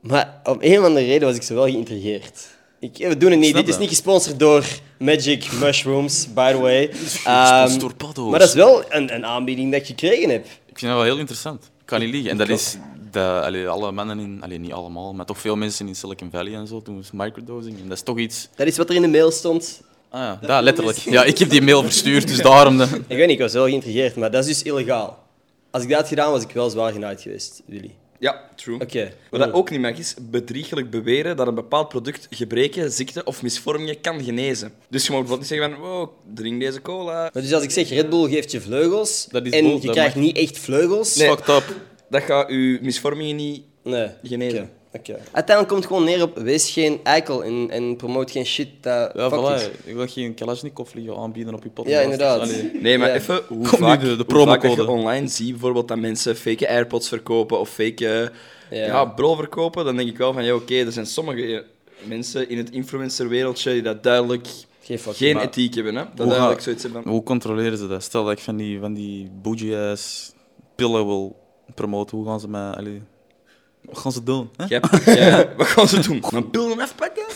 [SPEAKER 1] Maar om een of andere reden was ik zo wel geïntrigeerd. Ik, we doen het niet.
[SPEAKER 2] snap
[SPEAKER 1] Dit is
[SPEAKER 2] dat.
[SPEAKER 1] niet gesponsord door Magic Mushrooms, by the way.
[SPEAKER 2] gesponsord
[SPEAKER 1] Ehm,
[SPEAKER 2] door paddo's.
[SPEAKER 1] maar dat is wel een, een aanbieding dat ik gekregen heb.
[SPEAKER 2] Ik vind dat wel heel interessant. Ik kan niet liegen. En dat is de, allee, alle mannen in, allee, niet allemaal, maar toch veel mensen in Silicon Valley en zo doen dus microdosing. En dat is toch iets.
[SPEAKER 1] Dat is wat er in de mail stond.
[SPEAKER 2] Ah ja, dat, letterlijk. Ja, ik heb die mail verstuurd, dus daarom. De...
[SPEAKER 1] Ik weet niet, ik was wel geïntrigeerd, maar dat is dus illegaal. Als ik dat had gedaan, was ik wel zwaar genaaid geweest, Willy.
[SPEAKER 3] Ja, true.
[SPEAKER 1] Oké.
[SPEAKER 3] Wat dat ook niet mag is bedriegelijk beweren dat een bepaald product gebreken, ziekte of misvormingen kan genezen. Dus je mag bijvoorbeeld niet zeggen van, wow, drink deze cola.
[SPEAKER 1] Maar dus als ik zeg Red Bull geeft je vleugels
[SPEAKER 2] Dat is
[SPEAKER 1] en
[SPEAKER 2] bull,
[SPEAKER 1] je
[SPEAKER 2] dat
[SPEAKER 1] krijgt
[SPEAKER 2] mag-
[SPEAKER 1] niet echt vleugels.
[SPEAKER 2] Nee. Fucked up.
[SPEAKER 3] Dat gaat je misvormingen niet...
[SPEAKER 1] nee.
[SPEAKER 3] Genezen.
[SPEAKER 1] Oké, oké. Uiteindelijk komt het gewoon neer op wees geen eikel en, en promoot geen shit dat
[SPEAKER 2] Ja,
[SPEAKER 1] fucked is.
[SPEAKER 2] voilà. Ik wil geen Kalashnikov vliegen aanbieden op je podcast.
[SPEAKER 1] Ja, inderdaad.
[SPEAKER 2] Allee.
[SPEAKER 3] Nee, maar
[SPEAKER 1] Ja.
[SPEAKER 3] even, hoe
[SPEAKER 2] Kom nu
[SPEAKER 3] vaak,
[SPEAKER 2] de- de
[SPEAKER 3] hoe vaak dat je
[SPEAKER 2] promocode.
[SPEAKER 3] online ziet bijvoorbeeld dat mensen fake airpods verkopen of fake eh,
[SPEAKER 1] Ja.
[SPEAKER 3] ja. bril verkopen, dan denk ik wel van, ja oké, er zijn sommige eh, mensen in het influencerwereldje die dat duidelijk
[SPEAKER 1] Geen fuck.
[SPEAKER 3] geen
[SPEAKER 2] maar-
[SPEAKER 3] ethiek hebben. Hè? Dat
[SPEAKER 2] Hoe
[SPEAKER 3] duidelijk
[SPEAKER 2] ga-
[SPEAKER 3] zoiets hebben van...
[SPEAKER 2] Hoe controleren ze dat? Stel dat ik van die, van die bougie-ass pillen wil promoten, hoe gaan ze mij. Allee, wat gaan ze doen? hè?
[SPEAKER 3] Jij hebt- jij- eh, wat gaan ze doen? Een pil afpakken?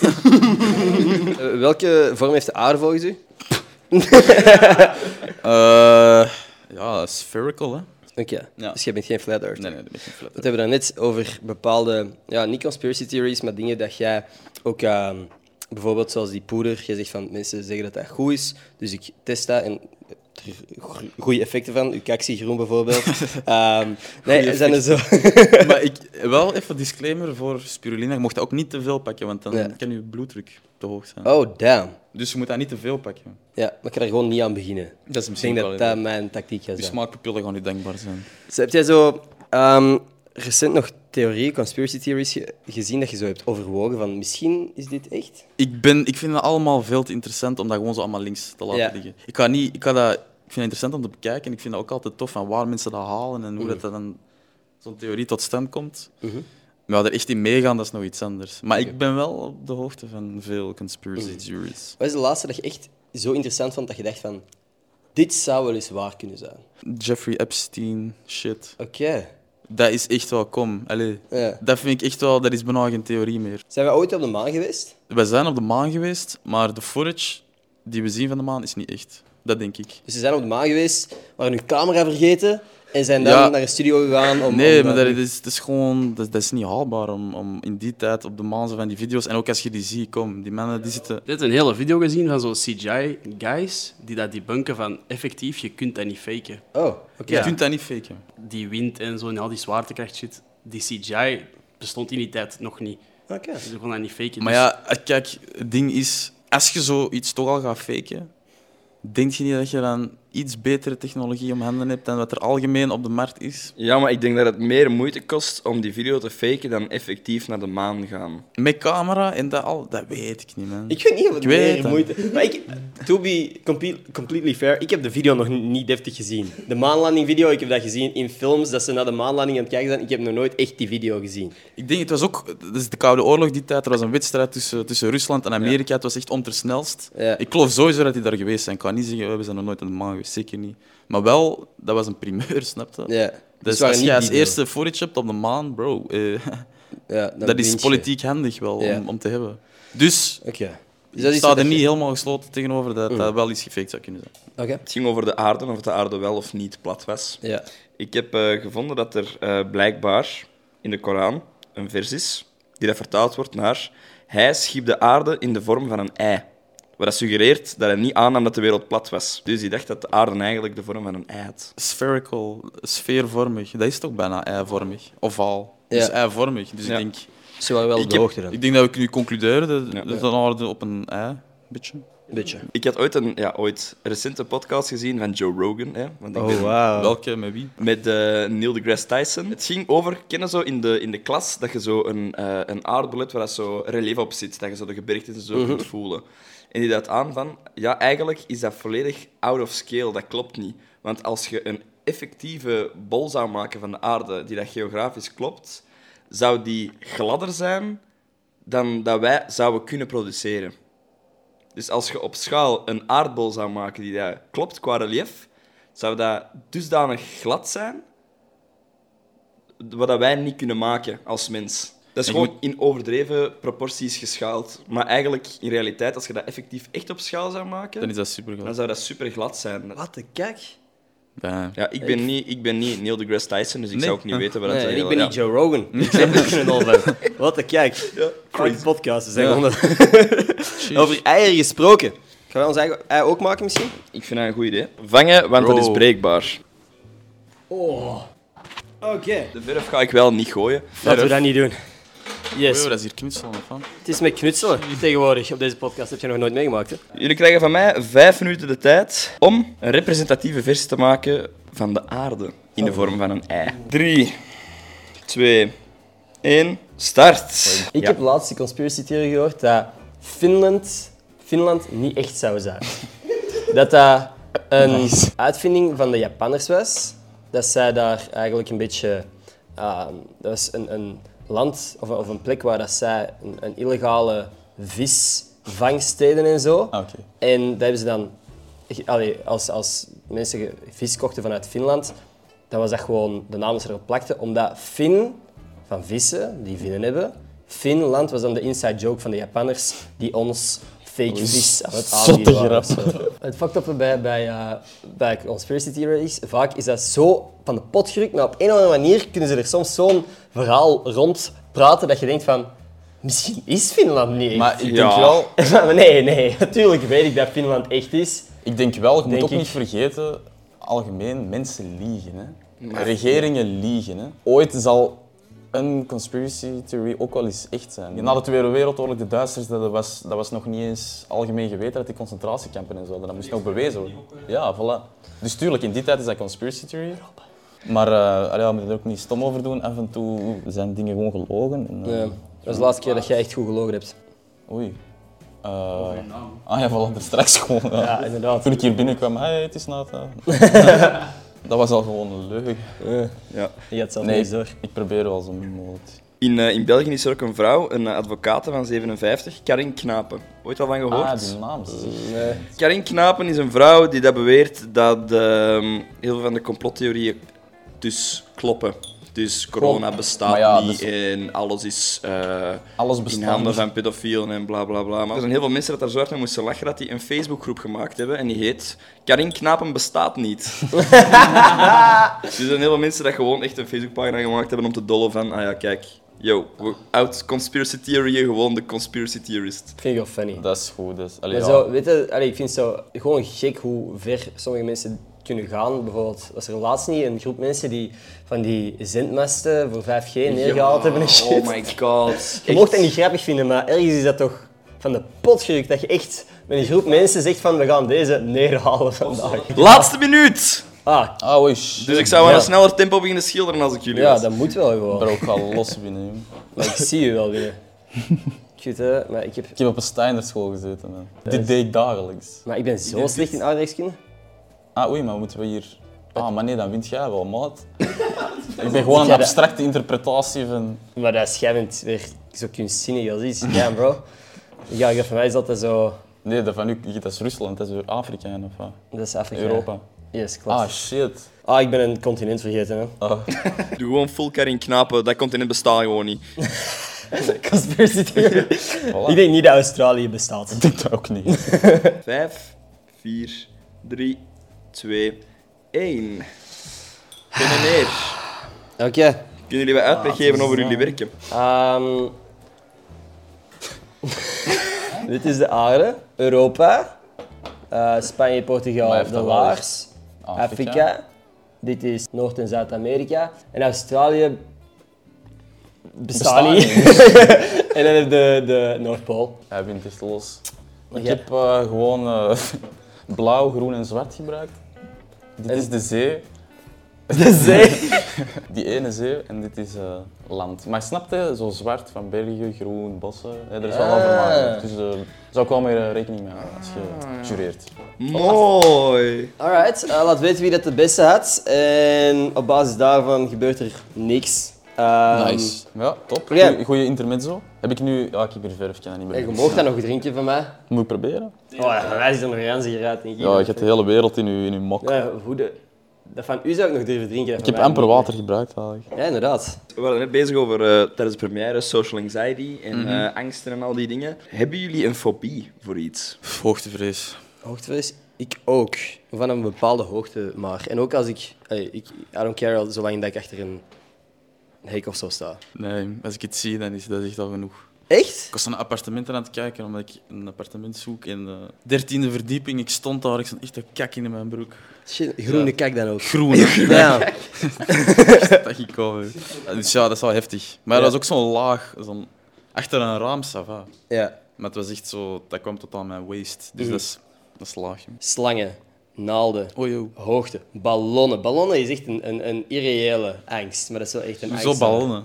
[SPEAKER 1] Eh, welke vorm heeft de aarde volgens u?
[SPEAKER 2] Eh, ja, spherical, hè?
[SPEAKER 1] Oké,
[SPEAKER 2] Ja.
[SPEAKER 1] dus je bent geen flat earth.
[SPEAKER 2] Nee, nee, dat is niet flat.
[SPEAKER 1] We hebben het net over bepaalde, ja, niet conspiracy theories, maar dingen dat jij ook, ehm, bijvoorbeeld zoals die poeder, je zegt van mensen zeggen dat dat goed is, dus ik test dat en er goede effecten van, uw kak zie groen bijvoorbeeld. Ehm, nee, er zijn er zo.
[SPEAKER 2] maar ik, wel even disclaimer voor spirulina. Je mocht dat ook niet te veel pakken, want dan
[SPEAKER 1] Nee.
[SPEAKER 2] kan je bloeddruk te hoog zijn.
[SPEAKER 1] Oh, damn.
[SPEAKER 2] Dus je moet dat niet te veel pakken.
[SPEAKER 1] Ja, maar ik ga er gewoon niet aan beginnen.
[SPEAKER 2] Dat is
[SPEAKER 1] Ik denk
[SPEAKER 2] misschien
[SPEAKER 1] dat dat mijn tactiek gaat
[SPEAKER 2] Je
[SPEAKER 1] zijn.
[SPEAKER 2] smaakpapillen gaan niet denkbaar zijn.
[SPEAKER 1] Zo, heb jij zo ehm, recent nog theorieën, conspiracy theories ge- gezien dat je zo hebt overwogen van misschien is dit echt?
[SPEAKER 2] Ik, ben, ik vind dat allemaal veel te interessant om dat gewoon zo allemaal links te laten
[SPEAKER 1] Ja.
[SPEAKER 2] liggen. Ik, ga niet, ik, ga dat, ik vind dat interessant om te bekijken en ik vind dat ook altijd tof van waar mensen dat halen
[SPEAKER 1] Mhm.
[SPEAKER 2] en hoe dat dat dan zo'n theorie tot stand komt. Maar ja, er echt in meegaan, dat is nog iets anders. Maar ik ben wel op de hoogte van veel
[SPEAKER 1] Mhm.
[SPEAKER 2] conspiracy theories.
[SPEAKER 1] Wat is de laatste dat je echt zo interessant vond dat je dacht van... Dit zou wel eens waar kunnen zijn.
[SPEAKER 2] Jeffrey Epstein, shit.
[SPEAKER 1] Oké.
[SPEAKER 2] Dat is echt wel kom. Allee,
[SPEAKER 1] Ja.
[SPEAKER 2] Dat vind ik echt wel, dat is bijna geen theorie meer.
[SPEAKER 1] Zijn we ooit op de maan geweest?
[SPEAKER 2] We zijn op de maan geweest, maar de footage die we zien van de maan is niet echt. Dat denk ik.
[SPEAKER 1] Dus ze zijn op de maan geweest, waren hun camera vergeten en zijn dan
[SPEAKER 2] Ja.
[SPEAKER 1] naar een studio gegaan om...
[SPEAKER 2] Nee,
[SPEAKER 1] om eh,
[SPEAKER 2] maar
[SPEAKER 1] daar-
[SPEAKER 2] dat is, dat is gewoon, dat, dat is niet haalbaar om, om in die tijd op de maan zo van die video's. En ook als je die ziet, kom, die mannen die zitten.
[SPEAKER 4] Dit een hele video gezien van zo'n CGI-guys die dat debunken van effectief, je kunt dat niet faken.
[SPEAKER 1] Oh, oké.
[SPEAKER 2] Je kunt dat niet faken.
[SPEAKER 4] Die wind en zo en al die zwaartekracht shit, die CGI bestond in die tijd nog niet.
[SPEAKER 1] Oké.
[SPEAKER 4] Dus je kon dat niet faken.
[SPEAKER 2] Maar ja, eh, kijk, het ding is, als je zoiets toch al gaat faken, denk je niet dat je dan iets betere technologie om handen hebt dan wat er algemeen op de markt is?
[SPEAKER 3] Ja, maar ik denk dat het meer moeite kost om die video te faken dan effectief naar de maan gaan.
[SPEAKER 2] Met camera en dat al, dat weet ik niet, man.
[SPEAKER 1] Ik weet niet of het
[SPEAKER 2] Ik weet
[SPEAKER 1] meer
[SPEAKER 2] het.
[SPEAKER 1] moeite... Maar ik, to be comple- completely fair, ik heb de video nog niet deftig gezien. De maanlanding video, ik heb dat gezien in films, dat ze naar de maanlanding aan het kijken zijn. Ik heb nog nooit echt die video gezien.
[SPEAKER 2] Ik denk, het was ook, dat is de Koude Oorlog die tijd, er was een wedstrijd tussen, tussen Rusland en Amerika, het was echt ontersnelst.
[SPEAKER 1] Ja.
[SPEAKER 2] Ik geloof sowieso dat die daar geweest zijn. Ik kan niet zeggen, we zijn nog nooit aan de maan geweest, zeker niet. Maar wel, dat was een primeur, snap je?
[SPEAKER 1] Ja.
[SPEAKER 2] Dus,
[SPEAKER 1] waren
[SPEAKER 2] als
[SPEAKER 1] niet
[SPEAKER 2] jij als
[SPEAKER 1] die eh, video.
[SPEAKER 2] eerste footage hebt op de maan, bro, eh,
[SPEAKER 1] Ja, dan
[SPEAKER 2] dat is
[SPEAKER 1] wint je.
[SPEAKER 2] politiek handig wel
[SPEAKER 1] Ja.
[SPEAKER 2] om, om te hebben. Dus,
[SPEAKER 1] Oké. Dus
[SPEAKER 2] ik
[SPEAKER 1] iets
[SPEAKER 2] sta
[SPEAKER 1] dat
[SPEAKER 2] er
[SPEAKER 1] je-
[SPEAKER 2] niet helemaal gesloten tegenover dat dat wel iets gefaked zou kunnen zijn.
[SPEAKER 1] Oké.
[SPEAKER 3] Het ging over de aarde, of de aarde wel of niet plat was.
[SPEAKER 1] Ja.
[SPEAKER 3] Ik heb eh, gevonden dat er eh, blijkbaar in de Koran een vers is die dat vertaald wordt naar Hij schiep de aarde in de vorm van een ei. Wat dat suggereert dat hij niet aannam dat de wereld plat was. Dus hij dacht dat de aarde eigenlijk de vorm van een ei had.
[SPEAKER 2] Spherical, sfeervormig, dat is toch bijna eivormig? Ovaal. Dus
[SPEAKER 1] Ja.
[SPEAKER 2] eivormig. Dus
[SPEAKER 3] Ja.
[SPEAKER 2] ik denk,
[SPEAKER 1] Ze waren wel op
[SPEAKER 2] ik,
[SPEAKER 1] de
[SPEAKER 2] heb-
[SPEAKER 1] hoogte dan.
[SPEAKER 2] ik denk dat we kunnen concluderen dat,
[SPEAKER 3] Ja.
[SPEAKER 2] dat we waren op een ei, een beetje.
[SPEAKER 1] Een beetje.
[SPEAKER 3] Ik had ooit een ja, ooit recente podcast gezien van Joe Rogan. Hè, want
[SPEAKER 1] Oh,
[SPEAKER 3] ik ben-
[SPEAKER 1] wow.
[SPEAKER 2] Welke, met wie?
[SPEAKER 3] Met eh, Neil deGrasse Tyson. Het ging over, kennen zo in de, in de klas, dat je zo een, eh een aardbol hebt waar dat zo relief op zit. Dat je zo de gebergtes en zo kunt voelen. En die duidt aan van, ja, eigenlijk is dat volledig out of scale. Dat klopt niet. Want als je een effectieve bol zou maken van de aarde, die dat geografisch klopt, zou die gladder zijn dan dat wij zouden kunnen produceren. Dus als je op schaal een aardbol zou maken die dat klopt qua relief, zou dat dusdanig glad zijn, wat dat wij niet kunnen maken als mens. Dat is
[SPEAKER 2] En je
[SPEAKER 3] gewoon in overdreven proporties geschaald. Maar eigenlijk, in realiteit, als je dat effectief echt op schaal zou maken,
[SPEAKER 2] Dan
[SPEAKER 3] dan,
[SPEAKER 2] is dat super
[SPEAKER 3] zou dat super glad zijn.
[SPEAKER 1] Wat een kijk.
[SPEAKER 3] Ja, ik ben, niet, ik ben niet Neil deGrasse Tyson, dus ik
[SPEAKER 2] Nee.
[SPEAKER 3] zou ook niet weten waar dat
[SPEAKER 1] Nee, en ik
[SPEAKER 3] heel-
[SPEAKER 1] ben
[SPEAKER 3] ja.
[SPEAKER 1] niet Joe Rogan. Ik zeg er geen hol van. Wat een kijk. Crazy podcast. Ze zijn
[SPEAKER 2] Ja.
[SPEAKER 1] onder- Over eieren gesproken. Gaan wij ons eigen ei ook maken misschien?
[SPEAKER 3] Ik vind dat een goed idee. Vangen, want dat
[SPEAKER 2] Bro.
[SPEAKER 3] is breekbaar.
[SPEAKER 1] Oh. Oké.
[SPEAKER 3] De verf ga ik wel niet gooien.
[SPEAKER 1] Laten we dat niet doen. Yes.
[SPEAKER 2] dat is hier knutselen of wat?
[SPEAKER 1] Het is met knutselen tegenwoordig op deze podcast. heb je nog nooit meegemaakt, hè?
[SPEAKER 3] Jullie krijgen van mij vijf minuten de tijd om een representatieve versie te maken van de aarde in de vorm van een ei. Drie, twee, één, start.
[SPEAKER 1] Ik
[SPEAKER 3] Ja.
[SPEAKER 1] heb laatst de conspiracy theory gehoord dat Finland, Finland niet echt zou zijn. dat dat een uitvinding van de Japanners was. Dat zij daar eigenlijk een beetje... ah, dat was een, een land of, of een plek waar dat zij een, een illegale visvangst deden en zo.
[SPEAKER 2] Ah, oké.
[SPEAKER 1] En dat hebben ze dan... ge- Allee, als, als mensen ge- vis kochten vanuit Finland, dan was dat gewoon de naam die ze erop plakten. Omdat Fin, van vissen, die vinnen hebben... Finland was dan de inside joke van de Japanners die ons fake vis aan het aanbieden waren. of zo. Het fucked up bij, bij, eh, bij conspiracy theories, vaak is dat zo van de pot gerukt, maar op een of andere manier kunnen ze er soms zo'n verhaal rond praten dat je denkt van... Misschien is Finland niet echt.
[SPEAKER 2] Maar ik denk
[SPEAKER 3] Ja.
[SPEAKER 2] wel,
[SPEAKER 1] Maar nee, nee, natuurlijk weet ik dat Finland echt is.
[SPEAKER 2] ik denk wel, je moet
[SPEAKER 1] Denk
[SPEAKER 2] ook
[SPEAKER 1] ik.
[SPEAKER 2] niet vergeten, algemeen, mensen liegen. Hè. Regeringen liegen. Hè. Ooit zal een conspiracy theory ook wel eens echt zijn. Na de Tweede Wereldoorlog, de Duitsers, dat was, dat was nog niet eens algemeen geweten dat die concentratiekampen en zo, dat moest nog bewezen worden. Ja, voilà. Dus tuurlijk, in die tijd is dat conspiracy theory. Maar eh allee, we moeten er ook niet stom over doen. Af en toe zijn dingen gewoon gelogen. En, eh,
[SPEAKER 1] Ja, dat is de laatste keer dat jij echt goed gelogen hebt.
[SPEAKER 2] Oei. Eh, ah ja, voilà, er straks gewoon. ja.
[SPEAKER 1] Ja, inderdaad.
[SPEAKER 2] Toen ik hier binnenkwam, hey, het is Nata. dat was al gewoon een leugen.
[SPEAKER 3] Ja.
[SPEAKER 1] Je gaat zelf
[SPEAKER 2] Nee,
[SPEAKER 1] niet door.
[SPEAKER 2] ik probeer wel zo min mogelijk.
[SPEAKER 3] In, eh, in België is er ook een vrouw, een eh, advocate van 57, Karin Knapen. Ooit al van gehoord?
[SPEAKER 2] Ah, die naam. zeg.
[SPEAKER 1] Nee.
[SPEAKER 3] Karin Knapen is een vrouw die dat beweert dat ehm, heel veel van de complottheorieën dus kloppen. Dus corona bestaat
[SPEAKER 2] Maar ja,
[SPEAKER 3] niet
[SPEAKER 2] dus-
[SPEAKER 3] en alles is eh,
[SPEAKER 2] Alles bestaat
[SPEAKER 3] in handen
[SPEAKER 2] niet.
[SPEAKER 3] van pedofielen en bla bla bla. Maar er zijn heel veel mensen dat daar zo hard mee moesten lachen dat die een Facebookgroep gemaakt hebben en die heet Karin Knapen bestaat niet. dus er zijn heel veel mensen dat gewoon echt een Facebookpagina gemaakt hebben om te dollen van, ah ja, kijk, yo, we- out conspiracy theorieën, gewoon de conspiracy theorist.
[SPEAKER 1] Vind ik wel funny.
[SPEAKER 2] Dat is goed. Dus, allee,
[SPEAKER 1] Maar
[SPEAKER 2] ja.
[SPEAKER 1] zo, weet je, allee, ik vind het zo gewoon gek hoe ver sommige mensen kunnen gaan. Bijvoorbeeld, was er laatst niet een groep mensen die van die zendmasten voor 5G neergehaald hebben en shit.
[SPEAKER 3] Oh my god.
[SPEAKER 1] Je mocht dat niet grappig vinden, maar ergens is dat toch van de pot gerukt dat je echt met een groep mensen zegt van we gaan deze neerhalen vandaag.
[SPEAKER 3] Laatste minuut!
[SPEAKER 1] Ah,
[SPEAKER 2] Ah, oei, shit.
[SPEAKER 3] Dus ik zou aan
[SPEAKER 1] Ja.
[SPEAKER 3] een sneller tempo beginnen schilderen als ik jullie
[SPEAKER 1] ja,
[SPEAKER 3] was.
[SPEAKER 1] dat moet wel gewoon.
[SPEAKER 2] Ik ben ook gaan los binnen. jongen.
[SPEAKER 1] Maar ik zie je wel weer. Goed, hè? Maar ik, heb...
[SPEAKER 2] Ik heb op een Steinerschool gezeten. Man. Dit deed ik dagelijks.
[SPEAKER 1] maar ik ben zo slecht in aardrijkskunde.
[SPEAKER 2] Ah, oei, maar moeten we hier. Ah, maar nee, dan wint jij wel, maat. ik ben gewoon een
[SPEAKER 1] Ja, dat-
[SPEAKER 2] abstracte interpretatie van.
[SPEAKER 1] Maar dat is jij bent weer zo kunstzinnig als iets. Ja, bro. Ja, ik dacht, van mij is altijd zo...
[SPEAKER 2] Nee, dat van u, dat is Rusland, dat is Afrika en of wat?
[SPEAKER 1] Dat is Afrika.
[SPEAKER 2] Europa.
[SPEAKER 1] Yes, klopt.
[SPEAKER 2] Ah,
[SPEAKER 1] Ah,
[SPEAKER 2] shit.
[SPEAKER 1] ik ben een continent vergeten, hè.
[SPEAKER 2] Ah.
[SPEAKER 3] Doe gewoon full Karin Knapen, dat komt in het bestaan gewoon niet.
[SPEAKER 1] Conspiracy theory. Ik denk niet dat Australië bestaat.
[SPEAKER 2] Ik denk dat ook niet.
[SPEAKER 3] Vijf, vier, drie, twee, één. Kom maar neer.
[SPEAKER 1] Oké.
[SPEAKER 3] Kunnen jullie wat uitleg geven over jullie werken?
[SPEAKER 1] Ehm. Dit is de aarde. Europa. Eh, Spanje,
[SPEAKER 2] Maar
[SPEAKER 1] Portugal,
[SPEAKER 2] heeft
[SPEAKER 1] de
[SPEAKER 2] dat wel
[SPEAKER 1] Laars. Afrika. Dit is Noord- en Zuid-Amerika. En Australië
[SPEAKER 5] bestaan niet. en dan heb je de, de Noordpool.
[SPEAKER 2] Hij wint is los. Ik
[SPEAKER 5] Ja.
[SPEAKER 2] heb eh, gewoon eh, blauw, groen en zwart gebruikt. Dit is de zee,
[SPEAKER 5] De zee.
[SPEAKER 2] die ene zee, en dit is eh, land. Maar snap je, zo zwart van bergen, groen, bossen, hè, er is wel
[SPEAKER 5] Ah.
[SPEAKER 2] overlaag. Dus eh zou ik wel meer eh, rekening mee houden als
[SPEAKER 5] Ah,
[SPEAKER 2] je jureert.
[SPEAKER 3] Mooi.
[SPEAKER 5] Alright, eh, laat weten wie dat de beste had. En op basis daarvan gebeurt er niks. Ehm,
[SPEAKER 2] Nice. Ja, top.
[SPEAKER 5] Ja.
[SPEAKER 2] Goeie, goeie intermezzo. Heb ik nu... Ja, ik heb hier verf, ik kan dat niet
[SPEAKER 5] En
[SPEAKER 2] meer.
[SPEAKER 5] je mocht dat nog drinken van mij.
[SPEAKER 2] Moet ik proberen?
[SPEAKER 5] Oh, dat wijst er nog aan zich uit, denk ik.
[SPEAKER 2] Ja, je hebt de hele wereld in je, in je mok.
[SPEAKER 5] Ja, hoe de... Dat van u zou ik nog durven drinken.
[SPEAKER 2] Ik heb amper water gebruikt eigenlijk.
[SPEAKER 5] Ja, inderdaad.
[SPEAKER 3] We waren net bezig over eh, tijdens de première social anxiety en
[SPEAKER 2] Mhm.
[SPEAKER 3] eh, angsten en al die dingen. Hebben jullie een fobie voor iets?
[SPEAKER 2] Hoogtevrees.
[SPEAKER 1] Hoogtevrees?
[SPEAKER 5] Ik ook.
[SPEAKER 1] Van een bepaalde hoogte maar. En ook als ik... ey, ik I don't care al- zolang dat ik achter een hek of zo sta.
[SPEAKER 2] Nee, als ik het zie, dan is dat echt al genoeg.
[SPEAKER 1] Echt?
[SPEAKER 2] Ik was naar appartementen aan het kijken, omdat ik een appartement zoek in de dertiende verdieping. Ik stond daar, ik stond echt een kak in mijn broek.
[SPEAKER 1] Shit, groene kijk dan ook.
[SPEAKER 2] Groen,
[SPEAKER 1] Ja.
[SPEAKER 2] dat ik over. Dus ja, dat is wel heftig. Maar dat was ook zo'n laag, zo'n, achter een raam, ça va.
[SPEAKER 1] ja.
[SPEAKER 2] Maar het was echt zo, dat kwam tot aan mijn waist. Dus dat is, dat is laag. Oh, joh.
[SPEAKER 1] Slangen, naalden,
[SPEAKER 2] Oei, oei.
[SPEAKER 1] hoogte, ballonnen. Ballonnen is echt een, een, een irreële angst, maar dat is wel echt een angst.
[SPEAKER 2] Zo ballonnen.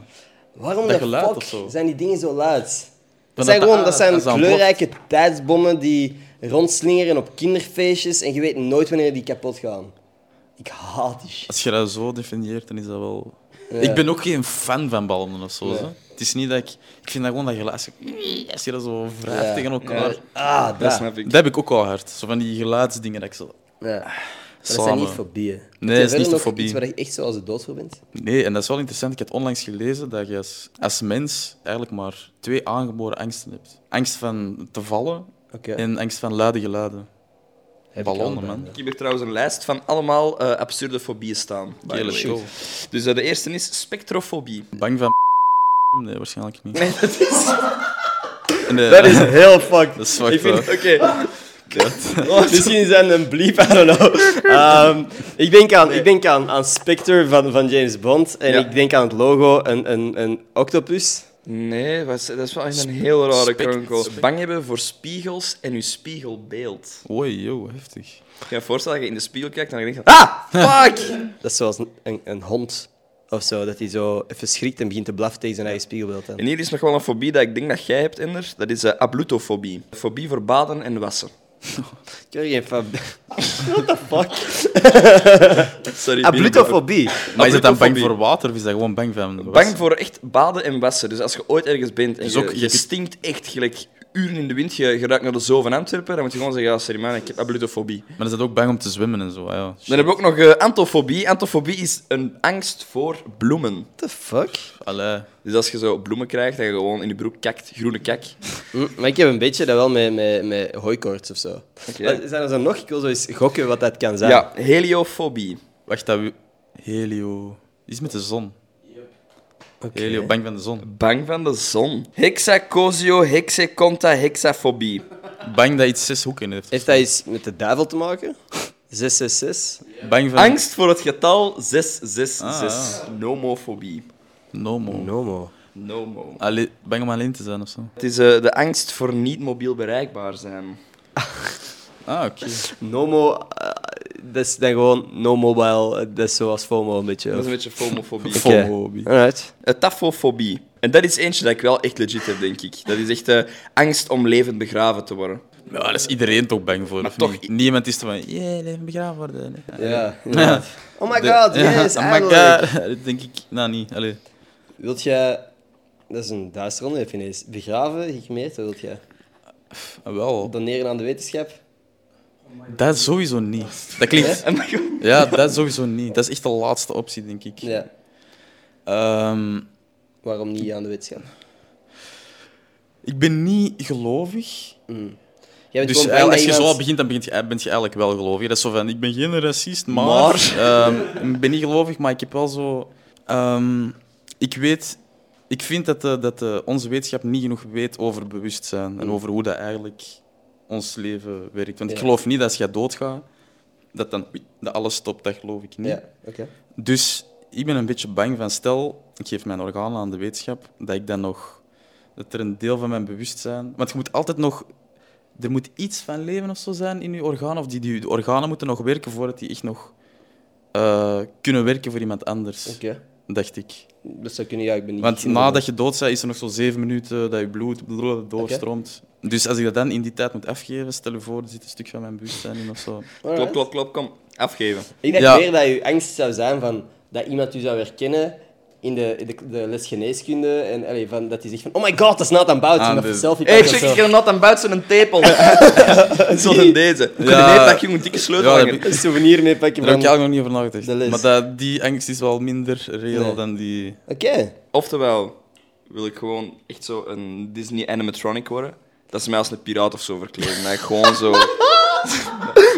[SPEAKER 1] Waarom
[SPEAKER 2] Dat
[SPEAKER 1] de
[SPEAKER 2] geluid
[SPEAKER 1] fuck
[SPEAKER 2] of zo.
[SPEAKER 1] zijn die dingen zo luid?
[SPEAKER 2] dat
[SPEAKER 1] Dat zijn,
[SPEAKER 2] dat-
[SPEAKER 1] gewoon, dat zijn
[SPEAKER 2] dat is aan
[SPEAKER 1] kleurrijke tijdsbommen die rondslingeren op kinderfeestjes en je weet nooit wanneer die kapot gaan. Ik haat die shit.
[SPEAKER 2] Als je dat zo definieert, dan is dat wel... Ik ben ook geen fan van ballonnen of zo.
[SPEAKER 1] Nee.
[SPEAKER 2] zo. Het is niet dat ik... Ik vind dat gewoon dat geluid... Als je, als je dat zo wrijft
[SPEAKER 1] Ja.
[SPEAKER 2] tegen elkaar...
[SPEAKER 1] Ah, dat.
[SPEAKER 3] Dat snap ik.
[SPEAKER 2] Dat heb ik ook al hard. Zo van die geluidsdingen dat ik zo...
[SPEAKER 1] Ja. Maar dat zijn
[SPEAKER 2] Samen.
[SPEAKER 1] niet fobieën. Heb je
[SPEAKER 2] Nee, dat is
[SPEAKER 1] verder
[SPEAKER 2] niet de
[SPEAKER 1] nog
[SPEAKER 2] fobie.
[SPEAKER 1] Iets waar je echt zo als de dood voor bent?
[SPEAKER 2] Nee, en dat is wel interessant. Ik had onlangs gelezen dat je als, als mens eigenlijk maar twee aangeboren angsten hebt. Angst van te vallen
[SPEAKER 1] Oké.
[SPEAKER 2] en angst van luide geluiden. Ballonnen,
[SPEAKER 1] wel,
[SPEAKER 2] man.
[SPEAKER 3] Ik heb hier trouwens een lijst van allemaal eh, absurde fobieën staan. by the
[SPEAKER 2] Hele
[SPEAKER 3] way.
[SPEAKER 2] show.
[SPEAKER 3] Dus eh, de eerste is spectrofobie.
[SPEAKER 2] Bang van Nee, waarschijnlijk niet.
[SPEAKER 3] Nee, dat is...
[SPEAKER 2] Nee,
[SPEAKER 1] Dat is heel fucked.
[SPEAKER 2] dat is fucked
[SPEAKER 1] ik vind-
[SPEAKER 2] up.
[SPEAKER 3] Oké.
[SPEAKER 1] Misschien is dat een bleep, I don't know. Ehm, ik denk, aan, ik denk aan, aan Spectre van, van James Bond. En
[SPEAKER 3] Ja.
[SPEAKER 1] ik denk aan het logo, een, een, een octopus.
[SPEAKER 3] Nee, wat is- dat is wel echt een heel rare
[SPEAKER 2] spect-
[SPEAKER 3] kronkel.
[SPEAKER 2] spect-
[SPEAKER 3] Bang hebben voor spiegels en je spiegelbeeld.
[SPEAKER 2] Oei, yo, heftig.
[SPEAKER 3] Je kan je voorstellen dat je in de spiegel kijkt en dan denk je... Ah, fuck!
[SPEAKER 1] Dat is zoals een, een, een hond of zo, dat hij zo even schrikt en begint te blaffen tegen zijn eigen spiegelbeeld. aan.
[SPEAKER 3] en hier is nog wel een fobie dat ik denk dat jij hebt, Ender. Dat is eh, ablutofobie. Fobie voor baden en wassen.
[SPEAKER 1] Ik heb geen fab-
[SPEAKER 3] Sorry.
[SPEAKER 1] Ah, Ablutofobie.
[SPEAKER 2] Maar is dat dan bang
[SPEAKER 3] Ablutofobie.
[SPEAKER 2] voor water of is dat gewoon bang van...
[SPEAKER 3] Bang voor echt baden en wassen. Dus als je ooit ergens bent en
[SPEAKER 2] Dus
[SPEAKER 3] je,
[SPEAKER 2] ook-
[SPEAKER 3] je
[SPEAKER 2] je-
[SPEAKER 3] stinkt echt gelijk uren in de wind, je, je ruikt naar de zoo van Antwerpen, dan moet je gewoon zeggen, ja, sorry man, ik heb ablutofobie.
[SPEAKER 2] Maar is dat ook bang om te zwemmen en zo? ah, Ja.
[SPEAKER 3] Dan hebben we ook nog eh, antofobie. Antofobie is een angst voor bloemen.
[SPEAKER 1] What the fuck?
[SPEAKER 2] Allee.
[SPEAKER 3] Dus als je zo bloemen krijgt, dat je gewoon in je broek kakt, groene kak.
[SPEAKER 1] Hm, maar ik heb een beetje dat wel met, met, met hooikoorts of zo.
[SPEAKER 3] Oké.
[SPEAKER 1] Maar Zijn er zo nog? Ik wil zo eens gokken wat dat kan zijn.
[SPEAKER 3] Ja, heliofobie.
[SPEAKER 2] Wacht, dat... we- Helio... Iets met de zon.
[SPEAKER 1] Oké.
[SPEAKER 2] Helio, bang van de zon.
[SPEAKER 3] Bang van de zon. Hexacosio, hexaconta, hexafobie.
[SPEAKER 2] Bang dat iets zes hoeken heeft.
[SPEAKER 1] Heeft dat iets met de duivel te maken? 666?
[SPEAKER 2] Bang van...
[SPEAKER 3] Angst voor het getal 666.
[SPEAKER 2] Ah,
[SPEAKER 3] Nomofobie.
[SPEAKER 2] Nomo.
[SPEAKER 1] Nomo.
[SPEAKER 3] Nomo.
[SPEAKER 2] Allee, bang om alleen te zijn of zo.
[SPEAKER 3] Het is eh, de angst voor niet mobiel bereikbaar zijn.
[SPEAKER 2] Ah, oké.
[SPEAKER 1] Nomo, eh, dat is dan gewoon no mobile. eh, Dat is zoals FOMO een beetje.
[SPEAKER 3] Dat is
[SPEAKER 1] of-
[SPEAKER 3] een beetje fomofobie.
[SPEAKER 2] Fo-
[SPEAKER 1] Oké.
[SPEAKER 2] FOMO.
[SPEAKER 1] Alright.
[SPEAKER 3] Eh, Tafofobie. En dat is eentje dat ik wel echt legit heb, denk ik. Dat is echt eh, angst om levend begraven te worden.
[SPEAKER 2] Ja, daar is iedereen toch bang voor.
[SPEAKER 3] Maar
[SPEAKER 2] of
[SPEAKER 3] toch-
[SPEAKER 2] niet? Niemand is toch van, jee, leven begraven worden.
[SPEAKER 1] Ja.
[SPEAKER 2] Ja.
[SPEAKER 1] Oh my god, yes,
[SPEAKER 2] oh my
[SPEAKER 1] eindelijk.
[SPEAKER 2] god. Dat denk ik, nou niet. Allee.
[SPEAKER 1] Wilt jij... Dat is een duister onderwerp ineens. Begraven, gecremeerd, wat wilt jij?
[SPEAKER 2] Ah, wel,
[SPEAKER 1] Doneren aan de wetenschap?
[SPEAKER 2] dat sowieso niet. Dat klinkt...
[SPEAKER 3] En dan gewoon-
[SPEAKER 2] Ja, dat sowieso niet. Dat is echt de laatste optie, denk ik.
[SPEAKER 1] Ja.
[SPEAKER 2] Ehm,
[SPEAKER 1] Waarom niet aan de wetenschap?
[SPEAKER 2] ik ben niet gelovig.
[SPEAKER 1] Jij bent
[SPEAKER 2] Dus
[SPEAKER 1] gewoon
[SPEAKER 2] eigenlijk,
[SPEAKER 1] bang
[SPEAKER 2] als je
[SPEAKER 1] dat
[SPEAKER 2] zo al
[SPEAKER 1] iemand-
[SPEAKER 2] begint, dan begint je, eh, ben je eigenlijk wel gelovig. Dat is zo van, ik ben geen racist, maar...
[SPEAKER 3] Maar.
[SPEAKER 2] ehm, ik ben niet gelovig, maar ik heb wel zo... ehm, ik weet... Ik vind dat, de, dat de, onze wetenschap niet genoeg weet over bewustzijn en over hoe dat eigenlijk ons leven werkt.
[SPEAKER 1] Mm.
[SPEAKER 2] Want ik
[SPEAKER 1] Ja.
[SPEAKER 2] geloof niet dat als je doodgaat, dat dan oei, dat alles stopt. Dat geloof ik niet.
[SPEAKER 1] Ja, oké.
[SPEAKER 2] Dus ik ben een beetje bang van, stel, ik geef mijn organen aan de wetenschap, dat ik dan nog, dat er een deel van mijn bewustzijn... Want je moet altijd nog, er moet iets van leven of zo zijn in je organen, of die, die, de organen moeten nog werken voordat die echt nog eh, kunnen werken voor iemand anders,
[SPEAKER 1] Oké.
[SPEAKER 2] dacht ik.
[SPEAKER 1] Dat zou kunnen, ja, ik ben niet...
[SPEAKER 2] Want nadat je dood bent, is er nog zo zeven minuten dat je bloed blablabla doorstroomt. Dus als ik dat dan in die tijd moet afgeven, stel je voor, er zit een stuk van mijn bewustzijn in of zo.
[SPEAKER 3] Klop, klop, klop, kom. Afgeven.
[SPEAKER 1] Ik denk
[SPEAKER 2] Ja.
[SPEAKER 1] meer dat je angst zou zijn van dat iemand u zou herkennen in de, in de, de les geneeskunde. En allee, van, dat hij zegt van, oh my god, dat is not about you.
[SPEAKER 2] Aan
[SPEAKER 1] Dat
[SPEAKER 2] de-
[SPEAKER 1] de... selfie
[SPEAKER 3] Hé, Ah, dus- hey,
[SPEAKER 1] pakken
[SPEAKER 3] check,
[SPEAKER 1] of
[SPEAKER 3] ik
[SPEAKER 1] zo.
[SPEAKER 3] heb not aan buiten een tepel. Zo'n deze. Ja.
[SPEAKER 2] Ja.
[SPEAKER 3] Nee, pak je een dikke sleutel
[SPEAKER 2] Ja, dat
[SPEAKER 3] hangen.
[SPEAKER 2] heb
[SPEAKER 1] Een souvenir mee pakken
[SPEAKER 2] Daar heb
[SPEAKER 1] van...
[SPEAKER 2] ik eigenlijk nog niet over nagedacht.
[SPEAKER 1] de les.
[SPEAKER 2] Maar dat, die angst is wel minder reëel
[SPEAKER 1] Nee.
[SPEAKER 2] dan die...
[SPEAKER 1] Oké.
[SPEAKER 3] Oftewel, wil ik gewoon echt zo een Disney animatronic worden. Dat ze mij als een piraat of zo verkleden. Dat ik gewoon zo...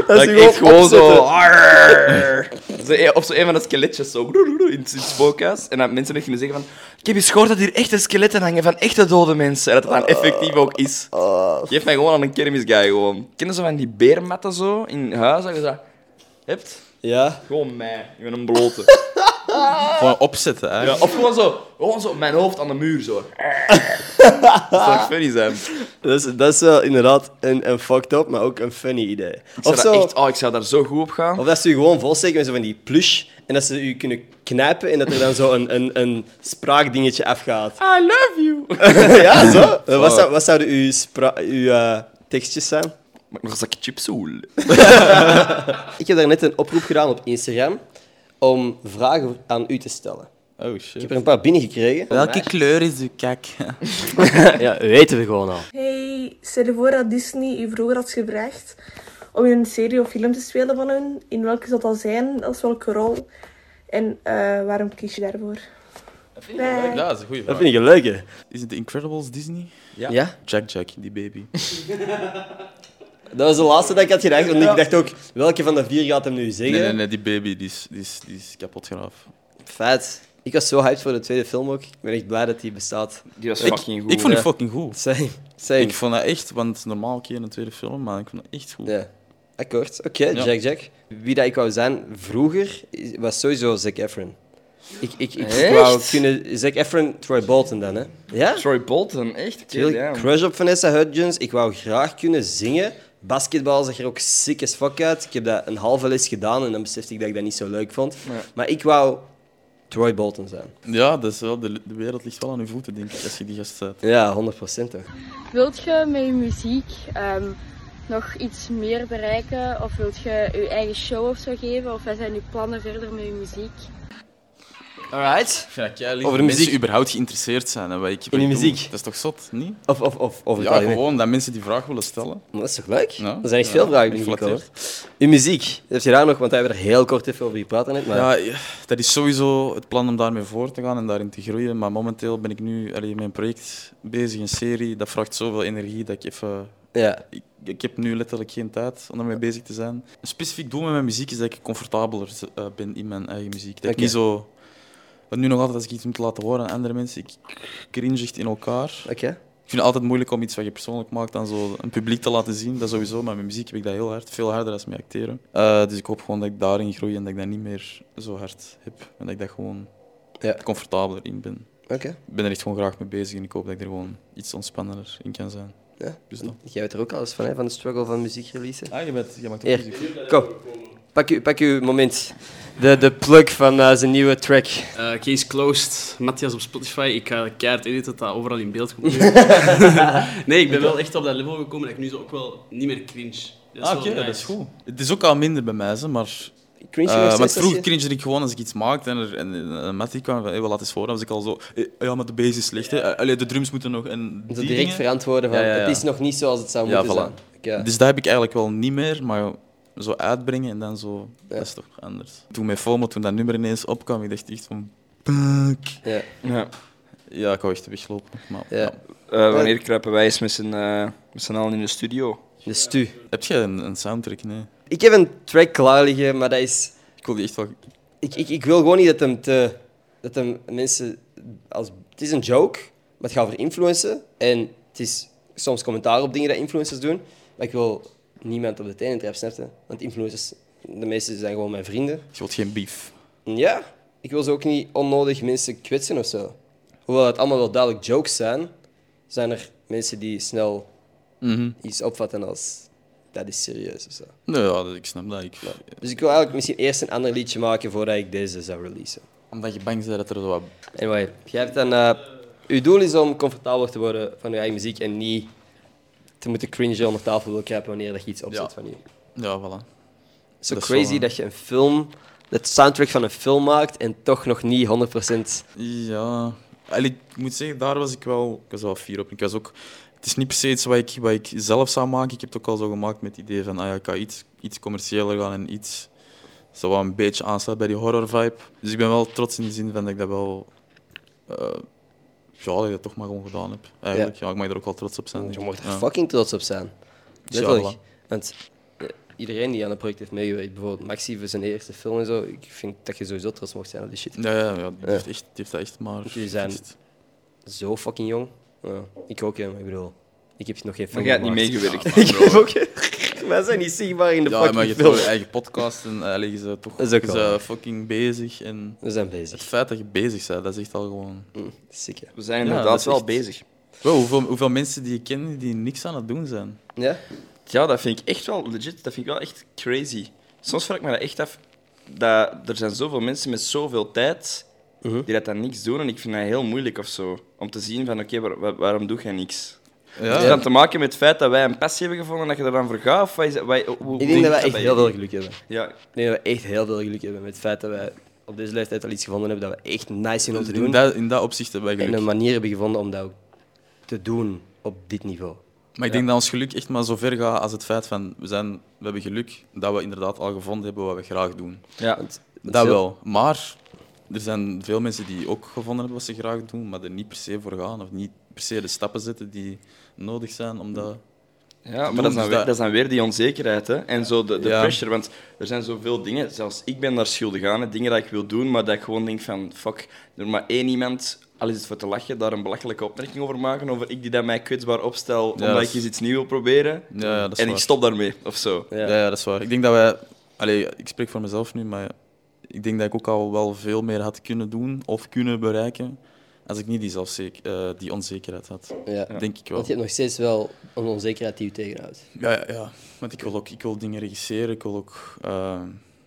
[SPEAKER 3] dat ik echt gewoon zo... Arrrr. Zo een- Of zo een van de skeletjes zo... In het in het spookhuis. En dat mensen echt gingen zeggen van... Ik heb eens gehoord dat hier echte skeletten hangen van echte dode mensen. En dat het dan effectief ook is.
[SPEAKER 1] Oh.
[SPEAKER 3] Geef mij gewoon aan een kermisguy gewoon. Kennen ze van die beermatten zo in huis? Dat je dat hebt?
[SPEAKER 1] Ja.
[SPEAKER 3] Gewoon mij. Ik ben een blote.
[SPEAKER 2] Gewoon opzetten, hè.
[SPEAKER 3] Ja, of gewoon zo, gewoon zo mijn hoofd aan de muur zo. dat zou echt funny zijn.
[SPEAKER 1] Dat is, dat is wel inderdaad een, een fucked up, maar ook een funny idee.
[SPEAKER 3] Ik zou,
[SPEAKER 1] Of, zo,
[SPEAKER 3] dat echt, oh, ik zou daar zo goed op gaan.
[SPEAKER 1] of dat ze u gewoon volsteken met zo van die plush. En dat ze u kunnen knijpen en dat er dan zo een, een, een spraakdingetje afgaat.
[SPEAKER 3] I love you.
[SPEAKER 1] ja, zo? Eh, Wat, zou, wat zouden uw, spra- uw eh, tekstjes zijn?
[SPEAKER 3] Maar nog een zakje chips hoel.
[SPEAKER 1] Ik heb daar net een oproep gedaan op Instagram om vragen aan u te stellen.
[SPEAKER 2] Oh,
[SPEAKER 1] Ik
[SPEAKER 2] shit.
[SPEAKER 1] heb er een paar binnengekregen.
[SPEAKER 2] Welke kleur is uw kak?
[SPEAKER 1] Ja, weten we gewoon al.
[SPEAKER 6] Hey, stel je voor dat Disney je vroeger had gevraagd om je een serie of film te spelen van hun. In welke zou dat zijn? Als welke rol? En eh, waarom kies je daarvoor? Bye.
[SPEAKER 2] Ja, dat is een goede
[SPEAKER 1] Dat
[SPEAKER 2] vraag.
[SPEAKER 1] vind ik een leuke.
[SPEAKER 2] Is het The Incredibles Disney?
[SPEAKER 1] Ja?
[SPEAKER 2] Jack Jack, die baby.
[SPEAKER 1] Dat was de laatste dat ik had gedacht, want ik dacht ook, welke van de vier gaat hem nu zeggen?
[SPEAKER 2] Nee, nee, nee, die baby die is, die is, die is kapot graaf.
[SPEAKER 1] Feit. Ik was zo hyped voor de tweede film ook. Ik ben echt blij dat die bestaat.
[SPEAKER 3] Die was
[SPEAKER 2] Ik,
[SPEAKER 3] fucking goed.
[SPEAKER 2] ik vond die
[SPEAKER 1] Ja.
[SPEAKER 2] fucking goed.
[SPEAKER 1] Same. Same.
[SPEAKER 2] Ik vond dat echt, want normaal keer een tweede film, maar ik vond dat echt goed.
[SPEAKER 1] Ja. Akkoord. Oké,
[SPEAKER 2] Ja.
[SPEAKER 1] Jack Jack. Wie dat ik wou zijn vroeger, is- was sowieso Zac Efron. Ik, ik, ik
[SPEAKER 3] Echt?
[SPEAKER 1] wou kunnen... Zac Efron, Troy Bolton dan, hè? Ja?
[SPEAKER 3] Troy Bolton, echt? Oké,
[SPEAKER 1] Heel
[SPEAKER 3] damn.
[SPEAKER 1] crush op Vanessa Hudgens. Ik wou graag kunnen zingen. Basketbal zag er ook sick as fuck uit. Ik heb dat een halve les gedaan en dan besefte ik dat ik dat niet zo leuk vond. Maar ik wou Troy Bolton zijn.
[SPEAKER 2] Ja, dat is wel, de, de wereld ligt wel aan uw voeten, denk ik, als je die gast bent.
[SPEAKER 1] Ja, 100% toch.
[SPEAKER 7] Wilt je met je muziek ehm, nog iets meer bereiken? Of wilt je je eigen show of zo geven? Of wat zijn je plannen verder met je muziek?
[SPEAKER 1] Alright.
[SPEAKER 2] Ik vind dat kei lief
[SPEAKER 1] Over de
[SPEAKER 2] dat mensen
[SPEAKER 1] muziek.
[SPEAKER 2] überhaupt geïnteresseerd zijn en wat ik
[SPEAKER 1] In die
[SPEAKER 2] doe.
[SPEAKER 1] muziek.
[SPEAKER 2] Dat is toch zot, niet?
[SPEAKER 1] Of, of, of, of
[SPEAKER 2] Ja, gewoon dat mensen die vraag willen stellen.
[SPEAKER 1] Maar dat is toch leuk?
[SPEAKER 2] Ja.
[SPEAKER 1] Er zijn echt
[SPEAKER 2] Ja,
[SPEAKER 1] veel vragen binnengekomen.
[SPEAKER 2] geflatteerd.
[SPEAKER 1] Uw muziek, heb je daar nog, want we hebben er heel kort even over gepraat net, maar...
[SPEAKER 2] Ja, ja, dat is sowieso het plan om daarmee voor te gaan en daarin te groeien. Maar momenteel ben ik nu allee, met een project bezig, een serie. Dat vraagt zoveel energie dat ik even...
[SPEAKER 1] Ja.
[SPEAKER 2] Ik, ik heb nu letterlijk geen tijd om ermee bezig te zijn. Een specifiek doel met mijn muziek is dat ik comfortabeler eh, ben in mijn eigen muziek. Dat ik
[SPEAKER 1] Oké.
[SPEAKER 2] niet zo... Want nu nog altijd, als ik iets moet laten horen aan andere mensen, ik cringe echt in elkaar.
[SPEAKER 1] Oké.
[SPEAKER 2] Ik vind het altijd moeilijk om iets wat je persoonlijk maakt aan zo een publiek te laten zien. Dat sowieso, maar met muziek heb ik dat heel hard. Veel harder als met acteren. Eh, dus ik hoop gewoon dat ik daarin groei en dat ik dat niet meer zo hard heb. En dat ik daar gewoon
[SPEAKER 1] Ja.
[SPEAKER 2] comfortabeler in ben.
[SPEAKER 1] Oké.
[SPEAKER 2] Ik ben er echt gewoon graag mee bezig en ik hoop dat ik er gewoon iets ontspannender in kan zijn.
[SPEAKER 1] Ja.
[SPEAKER 2] Dus dat.
[SPEAKER 1] Jij weet er ook alles van, hè, van de struggle van muziek releasen.
[SPEAKER 2] Ah, je, bent, je maakt ook
[SPEAKER 1] Hier,
[SPEAKER 2] muziek.
[SPEAKER 4] dus-
[SPEAKER 1] kom. Pak u, pak u moment. De, de plug van eh, zijn nieuwe track.
[SPEAKER 4] Eh, case closed. Matthias op Spotify. Ik ga keihard editen dat dat overal in beeld komt. nee, ik ben wel echt op dat level gekomen dat ik nu zo ook wel niet meer cringe. Dat
[SPEAKER 2] Ah,
[SPEAKER 4] wel
[SPEAKER 2] oké,
[SPEAKER 4] nice.
[SPEAKER 2] dat is goed. Het is ook al minder bij mij, ze, maar...
[SPEAKER 1] Cringe
[SPEAKER 2] eh
[SPEAKER 1] nog
[SPEAKER 2] want
[SPEAKER 1] steeds, als
[SPEAKER 2] vroeger
[SPEAKER 1] je-
[SPEAKER 2] cringe ik gewoon als ik iets maakte en, er, en, en, en Mattie kwam van, hey, wat laat eens voor, dan was ik al zo... eh, ja, maar de bass is slecht, hè. Eh, Allee, de drums moeten nog... En
[SPEAKER 1] Zo
[SPEAKER 2] die
[SPEAKER 1] direct
[SPEAKER 2] dingen.
[SPEAKER 1] verantwoorden van,
[SPEAKER 2] Ja, ja, ja.
[SPEAKER 1] het is nog niet zoals het zou
[SPEAKER 2] Ja,
[SPEAKER 1] moeten
[SPEAKER 2] voilà.
[SPEAKER 1] zijn. Oké.
[SPEAKER 2] Dus dat heb ik eigenlijk wel niet meer, maar zo uitbrengen en dan zo,
[SPEAKER 1] Ja.
[SPEAKER 2] dat is toch anders. Toen met FOMO, toen dat nummer ineens opkwam, ik dacht echt van...
[SPEAKER 1] Ja.
[SPEAKER 3] Ja.
[SPEAKER 2] Ja, ik wou echt weglopen. Maar,
[SPEAKER 1] Ja.
[SPEAKER 2] ja.
[SPEAKER 3] Eh, wanneer kruipen wij eens met z'n eh, met z'n allen in de studio?
[SPEAKER 1] De stu.
[SPEAKER 2] Heb jij een, een soundtrack? Nee.
[SPEAKER 1] Ik heb een track klaar liggen, maar dat is...
[SPEAKER 2] Ik wil die echt wel...
[SPEAKER 1] Ik, ik, ik wil gewoon niet dat hem te... Dat hem mensen... Als, het is een joke, maar het gaat over influencen. En het is soms commentaar op dingen dat influencers doen. Maar ik wil niemand op de tenen trap, snap je? Want influencers, de meeste zijn gewoon mijn vrienden.
[SPEAKER 2] Je wilt geen beef.
[SPEAKER 1] Ja, ik wil ze ook niet onnodig mensen kwetsen of zo. Hoewel het allemaal wel duidelijk jokes zijn, zijn er mensen die snel
[SPEAKER 2] Mhm.
[SPEAKER 1] iets opvatten als dat is serieus of zo.
[SPEAKER 2] Nou ja, dat- ik snap dat. Ik,
[SPEAKER 1] Dus ik wil eigenlijk misschien eerst een ander liedje maken voordat ik deze zou releasen.
[SPEAKER 2] Omdat je bang bent dat er zo wat...
[SPEAKER 1] Anyway, jij hebt dan... eh, uw doel is om comfortabeler te worden van uw eigen muziek en niet te moeten cringen onder tafel wil kruipen wanneer dat je iets opzet
[SPEAKER 2] Ja.
[SPEAKER 1] van je.
[SPEAKER 2] Ja, voilà.
[SPEAKER 1] Zo
[SPEAKER 2] Dat is
[SPEAKER 1] crazy
[SPEAKER 2] wel, eh.
[SPEAKER 1] dat je een film, het soundtrack van een film maakt en toch nog niet 100%.
[SPEAKER 2] Ja, Allee, ik moet zeggen, daar was ik wel, ik was wel fier op. Ik was ook, het is niet per se iets wat ik, wat ik zelf zou maken. Ik heb het ook al zo gemaakt met het idee van, ah ja, ik ga iets, iets commerciëler gaan en iets zo wat een beetje aansluit bij die horror vibe. Dus ik ben wel trots in de zin van dat ik dat wel, eh, ja, dat ik dat toch maar gewoon gedaan heb. Eigenlijk, ja. ik mag er ook wel trots op zijn.
[SPEAKER 1] Je
[SPEAKER 2] denk
[SPEAKER 1] mag
[SPEAKER 2] ik.
[SPEAKER 1] er
[SPEAKER 2] Ja.
[SPEAKER 1] fucking trots op zijn.
[SPEAKER 2] Ja,
[SPEAKER 1] Letterlijk.
[SPEAKER 2] voilà.
[SPEAKER 1] Want eh, iedereen die aan het project heeft meegewerkt, bijvoorbeeld Maxi voor zijn eerste film en zo, ik vind dat je sowieso trots mocht zijn op die shit.
[SPEAKER 2] Ja, ja, ja, die heeft, echt, die heeft dat echt maar...
[SPEAKER 1] Jullie zijn-
[SPEAKER 2] gefixt.
[SPEAKER 1] Zo fucking jong. Ja, ik ook, hè, maar ik bedoel, ik heb nog geen
[SPEAKER 3] Maar
[SPEAKER 1] film
[SPEAKER 3] jij hebt niet
[SPEAKER 1] gemaakt.
[SPEAKER 3] meegewerkt.
[SPEAKER 1] Ik heb ook... Wij zijn niet zichtbaar in de
[SPEAKER 2] Ja, maar je
[SPEAKER 1] fucking
[SPEAKER 2] hebt wel
[SPEAKER 1] film.
[SPEAKER 2] je eigen podcast en eh, allee, je bent toch
[SPEAKER 1] Dat is ook
[SPEAKER 2] je
[SPEAKER 1] wel
[SPEAKER 2] bent fucking bezig en...
[SPEAKER 1] We zijn
[SPEAKER 2] Het
[SPEAKER 1] bezig.
[SPEAKER 2] feit dat je bezig bent, dat is echt al gewoon...
[SPEAKER 1] Mm, Sick, ja.
[SPEAKER 3] We zijn
[SPEAKER 2] Ja,
[SPEAKER 3] inderdaad
[SPEAKER 2] dat is
[SPEAKER 3] wel
[SPEAKER 2] echt-
[SPEAKER 3] bezig.
[SPEAKER 2] Wow, hoeveel, hoeveel mensen die je kent die niks aan het doen zijn.
[SPEAKER 1] Ja?
[SPEAKER 3] Ja, dat vind ik echt wel legit. Dat vind ik wel echt crazy. Soms vraag ik me dat echt af. Dat, er zijn zoveel mensen met zoveel tijd die dat dan niks doen. En ik vind dat heel moeilijk of zo. Om te zien van, oké, waar- waar- waarom doe jij niks? Heeft dat te maken met het feit dat wij een passie hebben gevonden en dat je er dan voor gaat? Of wat is, dat- wat, hoe- hoe,
[SPEAKER 1] Ik denk dat wij
[SPEAKER 3] bij
[SPEAKER 1] echt heel
[SPEAKER 3] jullie?
[SPEAKER 1] veel geluk hebben.
[SPEAKER 3] Ja,
[SPEAKER 1] Ik denk dat we echt heel veel geluk hebben met het feit dat wij op deze leeftijd al iets gevonden hebben dat we echt nice vinden om te
[SPEAKER 2] in,
[SPEAKER 1] doen.
[SPEAKER 2] dat, in dat opzicht hebben wij
[SPEAKER 1] En een
[SPEAKER 2] geluk.
[SPEAKER 1] manier hebben gevonden om dat ook te doen op dit niveau.
[SPEAKER 2] Maar ik denk dat ons geluk echt maar zo ver gaat als het feit van... We, zijn, we hebben geluk dat we inderdaad al gevonden hebben wat we graag doen.
[SPEAKER 3] ja.
[SPEAKER 2] Dat
[SPEAKER 1] heel-
[SPEAKER 2] wel. Maar er zijn veel mensen die ook gevonden hebben wat ze graag doen, maar er niet per se voor gaan. Of niet per se de stappen zetten die nodig zijn om dat...
[SPEAKER 3] Ja,
[SPEAKER 2] doen,
[SPEAKER 3] maar dat is,
[SPEAKER 2] dus
[SPEAKER 3] dan weer,
[SPEAKER 2] dat-
[SPEAKER 3] dat is dan weer die onzekerheid hè? en zo de, de
[SPEAKER 2] Ja.
[SPEAKER 3] pressure. Want er zijn zoveel dingen, zelfs ik ben daar schuldig aan, hè, dingen dat ik wil doen, maar dat ik gewoon denk van fuck, er maar één iemand, al is het voor te lachen, daar een belachelijke opmerking over maken, over ik die dat mij kwetsbaar opstel omdat
[SPEAKER 2] dat
[SPEAKER 3] ik
[SPEAKER 2] is-
[SPEAKER 3] eens iets nieuws wil proberen.
[SPEAKER 2] Ja, ja, dat is
[SPEAKER 3] en ik
[SPEAKER 2] waar.
[SPEAKER 3] stop daarmee, of zo.
[SPEAKER 2] Ja. Ja, dat is waar. Ik denk dat wij... Allee, ik spreek voor mezelf nu, maar ik denk dat ik ook al wel veel meer had kunnen doen of kunnen bereiken als ik niet die, zelfzek- eh, die onzekerheid had.
[SPEAKER 1] Ja.
[SPEAKER 2] Denk ik wel.
[SPEAKER 1] Want je hebt nog steeds wel een onzekerheid die je tegenhoudt.
[SPEAKER 2] Ja, ja, ja. Want ik wil ook ik wil dingen regisseren, ik wil ook... eh,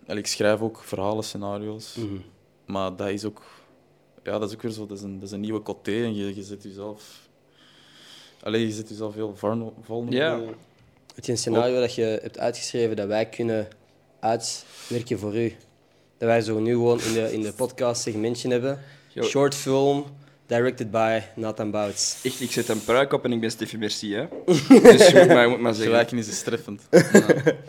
[SPEAKER 2] allee, ik schrijf ook verhalen, scenario's.
[SPEAKER 1] Mm. Mhm.
[SPEAKER 2] Maar dat is ook... Ja, dat is ook weer zo. Dat is een, dat is een nieuwe coté en je, je zet jezelf... Allee, je zet jezelf heel vulner- vulnerable.
[SPEAKER 3] Ja.
[SPEAKER 1] Heb je een scenario dat je hebt uitgeschreven dat wij kunnen uitwerken voor u? Dat wij zo nu gewoon in de, in de podcast segmentje hebben.
[SPEAKER 3] Yo.
[SPEAKER 1] Short film, directed by Nathan Bouts.
[SPEAKER 3] Echt, ik zet een pruik op en ik ben Steffi Merci, hè. dus je moet maar, je moet maar zeggen.
[SPEAKER 2] Vergelijking is dus treffend.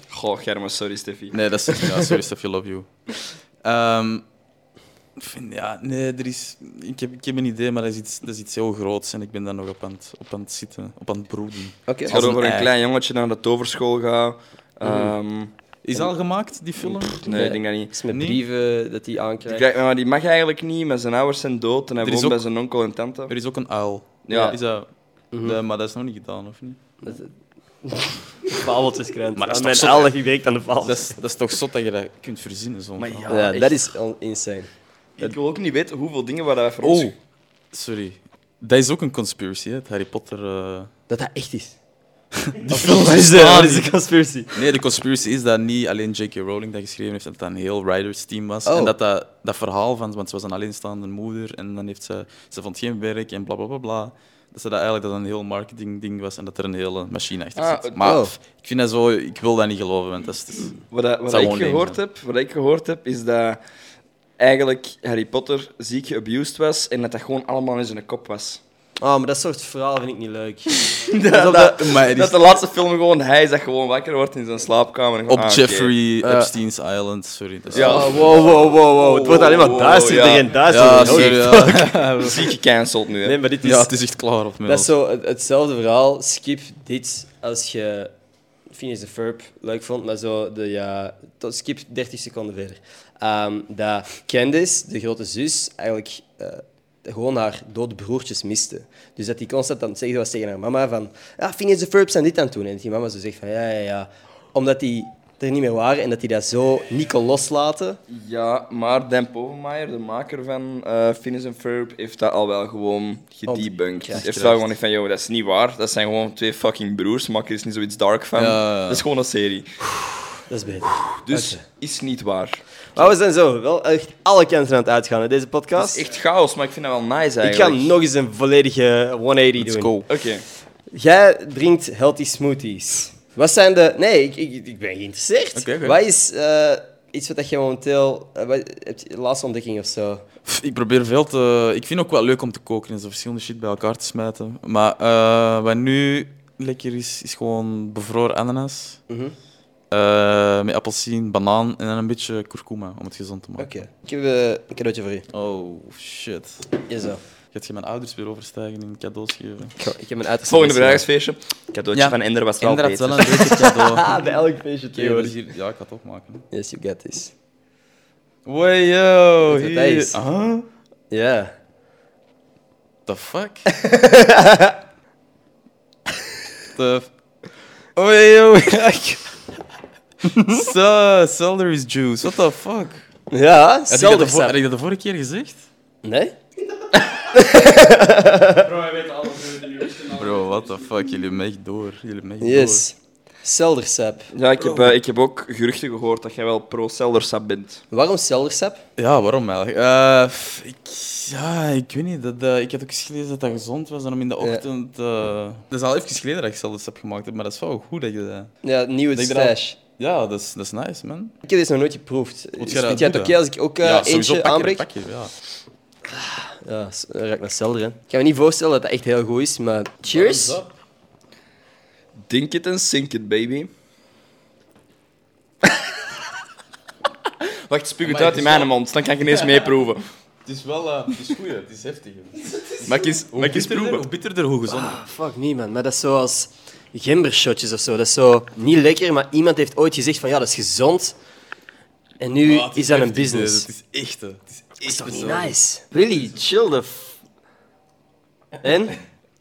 [SPEAKER 3] Goh, Germa, sorry Steffi.
[SPEAKER 2] Nee, dat is ja, sorry, Stef, I love you. Ehm, ik vind, ja, nee, er is, ik, heb, ik heb een idee, maar dat is, iets, dat is iets heel groots en ik ben daar nog op aan het, op aan het zitten, op aan het broeden.
[SPEAKER 1] Oké.
[SPEAKER 3] Het gaat
[SPEAKER 2] Als een
[SPEAKER 3] over een
[SPEAKER 2] ei. Mm.
[SPEAKER 3] klein jongetje naar de toverschool gaat. Ehm,
[SPEAKER 2] Is dat al gemaakt, die film?
[SPEAKER 3] nee, ik denk dat niet.
[SPEAKER 1] is met
[SPEAKER 2] Nee.
[SPEAKER 1] brieven dat hij
[SPEAKER 3] Die,
[SPEAKER 1] aankrijgt.
[SPEAKER 3] krijgt- maar die mag eigenlijk niet, maar zijn ouders zijn dood en hij
[SPEAKER 2] Er is
[SPEAKER 3] woont
[SPEAKER 2] ook-
[SPEAKER 3] bij zijn onkel en tante.
[SPEAKER 2] Er is ook een uil.
[SPEAKER 3] Ja.
[SPEAKER 2] Is dat,
[SPEAKER 1] Mhm.
[SPEAKER 2] Nee, maar dat is nog niet gedaan, of niet?
[SPEAKER 1] Fabeltjes krijgt.
[SPEAKER 2] Maar dat is
[SPEAKER 1] mijn
[SPEAKER 2] toch zo-
[SPEAKER 1] elf werkt aan de
[SPEAKER 2] Dat
[SPEAKER 1] fabels.
[SPEAKER 2] is, dat is toch zot dat je dat kunt verzinnen, zo'n verhaal.
[SPEAKER 1] Ja, dat is on- insane.
[SPEAKER 3] Ik wil ook niet weten hoeveel dingen waar wij voor ons...
[SPEAKER 2] Oh, sorry. Dat is ook een conspiracy, hè? het Harry Potter... eh.
[SPEAKER 1] Dat dat echt is.
[SPEAKER 2] Dat is
[SPEAKER 1] dat
[SPEAKER 2] waar.
[SPEAKER 1] is een conspiracy.
[SPEAKER 2] Nee, de conspiracy is dat niet alleen J.K. Rowling dat geschreven heeft, dat het een heel writers team was.
[SPEAKER 1] Oh.
[SPEAKER 2] En dat, dat dat verhaal van, want ze was een alleenstaande moeder en dan heeft ze, ze vond geen werk en bla bla bla bla. Dat ze dat eigenlijk dat een heel marketing ding was en dat er een hele machine achter
[SPEAKER 3] Ah,
[SPEAKER 2] zit. Maar
[SPEAKER 1] oh.
[SPEAKER 2] ik vind dat zo, ik wil dat niet geloven, want dat is. dat is-
[SPEAKER 3] Wat, dat- wat
[SPEAKER 2] zou
[SPEAKER 3] ik
[SPEAKER 2] gewoon leem
[SPEAKER 3] gehoord
[SPEAKER 2] zijn.
[SPEAKER 3] heb, wat ik gehoord heb, is dat eigenlijk Harry Potter ziek geabused was en dat dat gewoon allemaal in zijn kop was.
[SPEAKER 1] Oh, maar dat soort verhalen vind ik niet leuk.
[SPEAKER 3] dat,
[SPEAKER 2] maar het
[SPEAKER 3] dat
[SPEAKER 2] is-
[SPEAKER 3] de laatste film gewoon hij is dat gewoon wakker wordt in zijn slaapkamer. en
[SPEAKER 2] Op
[SPEAKER 3] gewoon, ah, oké.
[SPEAKER 2] Jeffrey Epstein's Island, sorry. Dat is
[SPEAKER 3] Ja.
[SPEAKER 1] Oh, wow, wow, wow, wow. Het wordt alleen maar
[SPEAKER 3] Wow,
[SPEAKER 1] duisterder
[SPEAKER 3] ja.
[SPEAKER 1] en duisterder.
[SPEAKER 2] ja,
[SPEAKER 1] Holy
[SPEAKER 2] sorry.
[SPEAKER 1] Oh, fuck.
[SPEAKER 2] Ja.
[SPEAKER 3] Ziek gecanceld nu. Hè.
[SPEAKER 1] Nee, maar dit is...
[SPEAKER 2] ja, het is echt klaar op
[SPEAKER 1] Dat is
[SPEAKER 2] mij.
[SPEAKER 1] zo het- hetzelfde verhaal. Skip dit als je Phineas de Ferb leuk vond, maar zo de, ja, tot skip 30 seconden verder. Ehm, dat Candice, de grote zus, eigenlijk eh, gewoon haar dode broertjes miste. Dus dat die constant aan het zeggen "Ah, was tegen haar mama van ja, Phineas de Ferb zijn dit aan het doen. En dat die mama zo zegt van ja, ja, ja. Omdat die... er niet meer waren en dat die dat zo niet kon loslaten.
[SPEAKER 3] Ja, maar Dan Povenmaier, de maker van eh Phineas and Ferb, heeft dat al wel gewoon gedebunked. Hij heeft wel gewoon echt van, joh, dat is niet waar. Dat zijn gewoon twee fucking broers, maak er is niet zoiets dark van.
[SPEAKER 2] Ja, ja, ja.
[SPEAKER 3] Dat is gewoon een serie.
[SPEAKER 1] Dat is beter.
[SPEAKER 3] Dus is niet waar.
[SPEAKER 1] Maar we zijn zo wel echt alle kanten aan het uitgaan in deze
[SPEAKER 3] Dat is
[SPEAKER 1] podcast.
[SPEAKER 3] echt chaos, maar ik vind dat wel nice
[SPEAKER 1] Ik ga
[SPEAKER 3] eigenlijk.
[SPEAKER 1] nog eens een volledige 180 doen.
[SPEAKER 3] Oké.
[SPEAKER 1] Jij drinkt healthy smoothies. Wat zijn de... Nee, ik, ik, ik ben geïnteresseerd.
[SPEAKER 2] Oké, oké.
[SPEAKER 1] Wat is eh, iets wat dat je momenteel... eh, wat, heb je, laatste ontdekking of zo?
[SPEAKER 2] Pff, Ik probeer veel te... Ik vind het ook wel leuk om te koken en zo verschillende shit bij elkaar te smijten. Maar eh, wat nu lekker is, is gewoon bevroren ananas.
[SPEAKER 1] Mhm.
[SPEAKER 2] Eh, met appelsien, banaan en dan een beetje kurkuma om het gezond te maken.
[SPEAKER 1] Oké. Ik heb eh, een cadeautje voor u.
[SPEAKER 2] Oh, shit.
[SPEAKER 1] Jezo.
[SPEAKER 2] Gaat je mijn ouders weer overstijgen in cadeaus geven?
[SPEAKER 1] Ik, ik heb een uiterste...
[SPEAKER 3] Volgende
[SPEAKER 1] missie.
[SPEAKER 3] verjaardagsfeestje. Cadeautje
[SPEAKER 2] Ja.
[SPEAKER 3] van Ender was wel
[SPEAKER 2] Inderdaad,
[SPEAKER 3] beter.
[SPEAKER 2] wel een beter cadeau.
[SPEAKER 1] Ah, bij elk feestje
[SPEAKER 2] Oké, dat
[SPEAKER 1] tegenwoordig.
[SPEAKER 2] is hier- Ja, ik ga het opmaken.
[SPEAKER 1] Yes, you get this.
[SPEAKER 2] Wee, yo.
[SPEAKER 1] Weet je wat dat
[SPEAKER 2] hier.
[SPEAKER 1] is?
[SPEAKER 2] Huh?
[SPEAKER 1] Ja.
[SPEAKER 2] The fuck? The... Oh, yo, kijk. Zo, celery juice. What the fuck?
[SPEAKER 1] Ja,
[SPEAKER 2] Had ik, dat de
[SPEAKER 1] zelden
[SPEAKER 2] vo- had ik dat de vorige keer gezegd?
[SPEAKER 1] Nee?
[SPEAKER 2] Bro, what the fuck? Jullie hebben me echt door. Jullie hebben me echt
[SPEAKER 1] Yes. Celdersap.
[SPEAKER 3] Ja, ik heb, eh, ik heb ook geruchten gehoord dat jij wel pro-Celdersap bent.
[SPEAKER 1] Waarom celdersap?
[SPEAKER 2] door. Ja, waarom eigenlijk? Eh, f- ik, ja, ik weet niet. Dat, eh, ik had ook eens gelezen dat dat gezond was en om in de ochtend... eh dat is al even geleden dat ik zelfs heb gemaakt heb, maar dat is wel goed dat je dat...
[SPEAKER 1] Ja, nieuwe
[SPEAKER 2] Denk eraan.
[SPEAKER 1] stash.
[SPEAKER 2] Ja, dat is, dat is nice, man.
[SPEAKER 1] Ik heb deze nog nooit geproefd. Dus
[SPEAKER 2] jij dat
[SPEAKER 1] vind jij het
[SPEAKER 2] doen,
[SPEAKER 1] oké
[SPEAKER 2] hè?
[SPEAKER 1] als ik ook eh,
[SPEAKER 2] ja,
[SPEAKER 1] eentje aanbreek?
[SPEAKER 2] Pak je, ja.
[SPEAKER 1] Ja, s- dan raak ik naar celder, hè. Ik kan me niet voorstellen dat dat echt heel goed is, maar... Cheers.
[SPEAKER 3] Dink it and sink it, baby. Wacht, spuug het uit in mijn mond, dan kan ik ineens meeproeven.
[SPEAKER 2] Het is wel... eh, het is goed, het is heftig.
[SPEAKER 3] Mag ik eens, mag ik eens
[SPEAKER 2] bitterder, hoe
[SPEAKER 3] proeven?
[SPEAKER 2] bitterder, hoe gezonder.
[SPEAKER 1] Fuck me, man. Maar dat is zoals gembershotjes of zo. Dat is zo niet lekker, maar iemand heeft ooit gezegd van ja, dat is gezond. En nu
[SPEAKER 2] Ah, het
[SPEAKER 1] is dat een
[SPEAKER 2] heftig,
[SPEAKER 1] business.
[SPEAKER 2] hè. Het is echt, hè. Het is
[SPEAKER 1] is
[SPEAKER 2] echt
[SPEAKER 1] toch niet
[SPEAKER 2] zo.
[SPEAKER 1] nice? Really, chill the... f- En?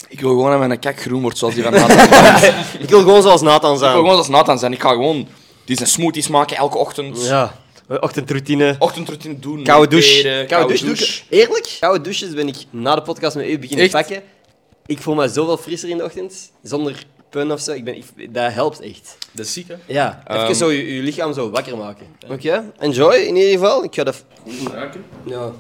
[SPEAKER 3] Ik wil gewoon dat mijn kak groen wordt, zoals die van Nathan. ik
[SPEAKER 1] Ik wil gewoon zoals Nathan
[SPEAKER 3] wil
[SPEAKER 1] zijn.
[SPEAKER 3] gewoon als Nathan zijn. Ik ga gewoon... Die zijn smoothies maken elke ochtend.
[SPEAKER 1] Ja, ochtendroutine.
[SPEAKER 3] Ochtendroutine doen.
[SPEAKER 1] Koude douche.
[SPEAKER 3] mediteren,
[SPEAKER 1] Koude douche. Eerlijk? Koude douches ben ik na de podcast met u beginnen
[SPEAKER 3] Echt?
[SPEAKER 1] pakken. Ik voel me zoveel frisser in de ochtend. Zonder pun of zo. Ik ben, ik- dat helpt echt.
[SPEAKER 2] Dat is ziek, hè.
[SPEAKER 1] Ja, even
[SPEAKER 3] Ehm.
[SPEAKER 1] zo je, je lichaam zo wakker maken. Oké, enjoy in ieder geval. Ik ga dat... Ja.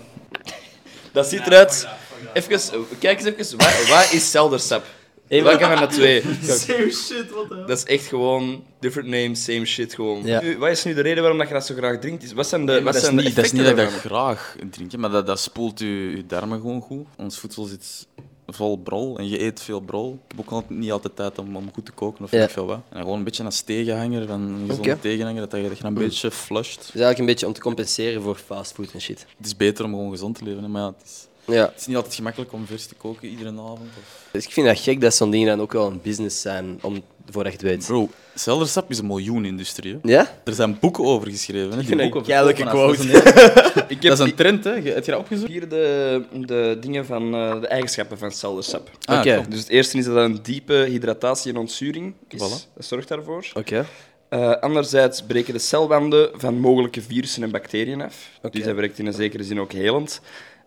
[SPEAKER 3] Dat ziet eruit. Even, eh, kijk eens even, wat, wat is Celdersap? Welke van de twee?
[SPEAKER 8] Same shit, wat de hel?
[SPEAKER 3] Dat is echt gewoon different name, same shit gewoon.
[SPEAKER 1] Ja.
[SPEAKER 3] Nu, wat is nu de reden waarom dat je dat zo graag drinkt? Eh, Is- Wat zijn de, wat
[SPEAKER 2] dat, is
[SPEAKER 3] zijn
[SPEAKER 2] niet,
[SPEAKER 3] de
[SPEAKER 2] dat is niet
[SPEAKER 3] effecten
[SPEAKER 2] dat ik dat
[SPEAKER 3] daarvan?
[SPEAKER 2] graag drink, hè, maar dat, dat spoelt je, je darmen gewoon goed. Ons voedsel zit vol brol en je eet veel brol. Ik heb ook al- niet altijd tijd om, om goed te koken of
[SPEAKER 1] Ja.
[SPEAKER 2] weet ik veel wat. En gewoon een beetje als tegenhanger, van een gezonde
[SPEAKER 1] Oké.
[SPEAKER 2] tegenhanger, dat je echt een beetje flusht.
[SPEAKER 1] Het is eigenlijk een beetje om te compenseren voor fastfood en shit.
[SPEAKER 2] Het is beter om gewoon gezond te leven, hè, maar ja, het is,
[SPEAKER 1] Ja.
[SPEAKER 2] het is niet altijd gemakkelijk om vers te koken iedere avond. Of...
[SPEAKER 1] Dus ik vind dat gek dat zo'n dingen dan ook wel een business zijn, om, voordat je het weet.
[SPEAKER 2] Bro, celdersap is een miljoenindustrie. hè.
[SPEAKER 1] Ja?
[SPEAKER 2] Er zijn boeken over geschreven. Hè? Die
[SPEAKER 1] vind
[SPEAKER 2] boeken
[SPEAKER 1] dat een
[SPEAKER 2] verkopen
[SPEAKER 1] keilijke
[SPEAKER 2] als- dat is
[SPEAKER 3] Ik
[SPEAKER 2] een-
[SPEAKER 3] heb
[SPEAKER 2] Dat is een trend, hè? Je- Heb je dat opgezocht?
[SPEAKER 3] hier de, de dingen van eh, de eigenschappen van Celdersap.
[SPEAKER 1] Oké.
[SPEAKER 2] Ah, klopt.
[SPEAKER 3] Dus het eerste is dat het een diepe hydratatie en ontzuring is.
[SPEAKER 2] Voilà.
[SPEAKER 3] Dat zorgt daarvoor.
[SPEAKER 1] Oké.
[SPEAKER 3] Eh, anderzijds breken de celwanden van mogelijke virussen en bacteriën af. Dus dat werkt in een zekere zin ook helend.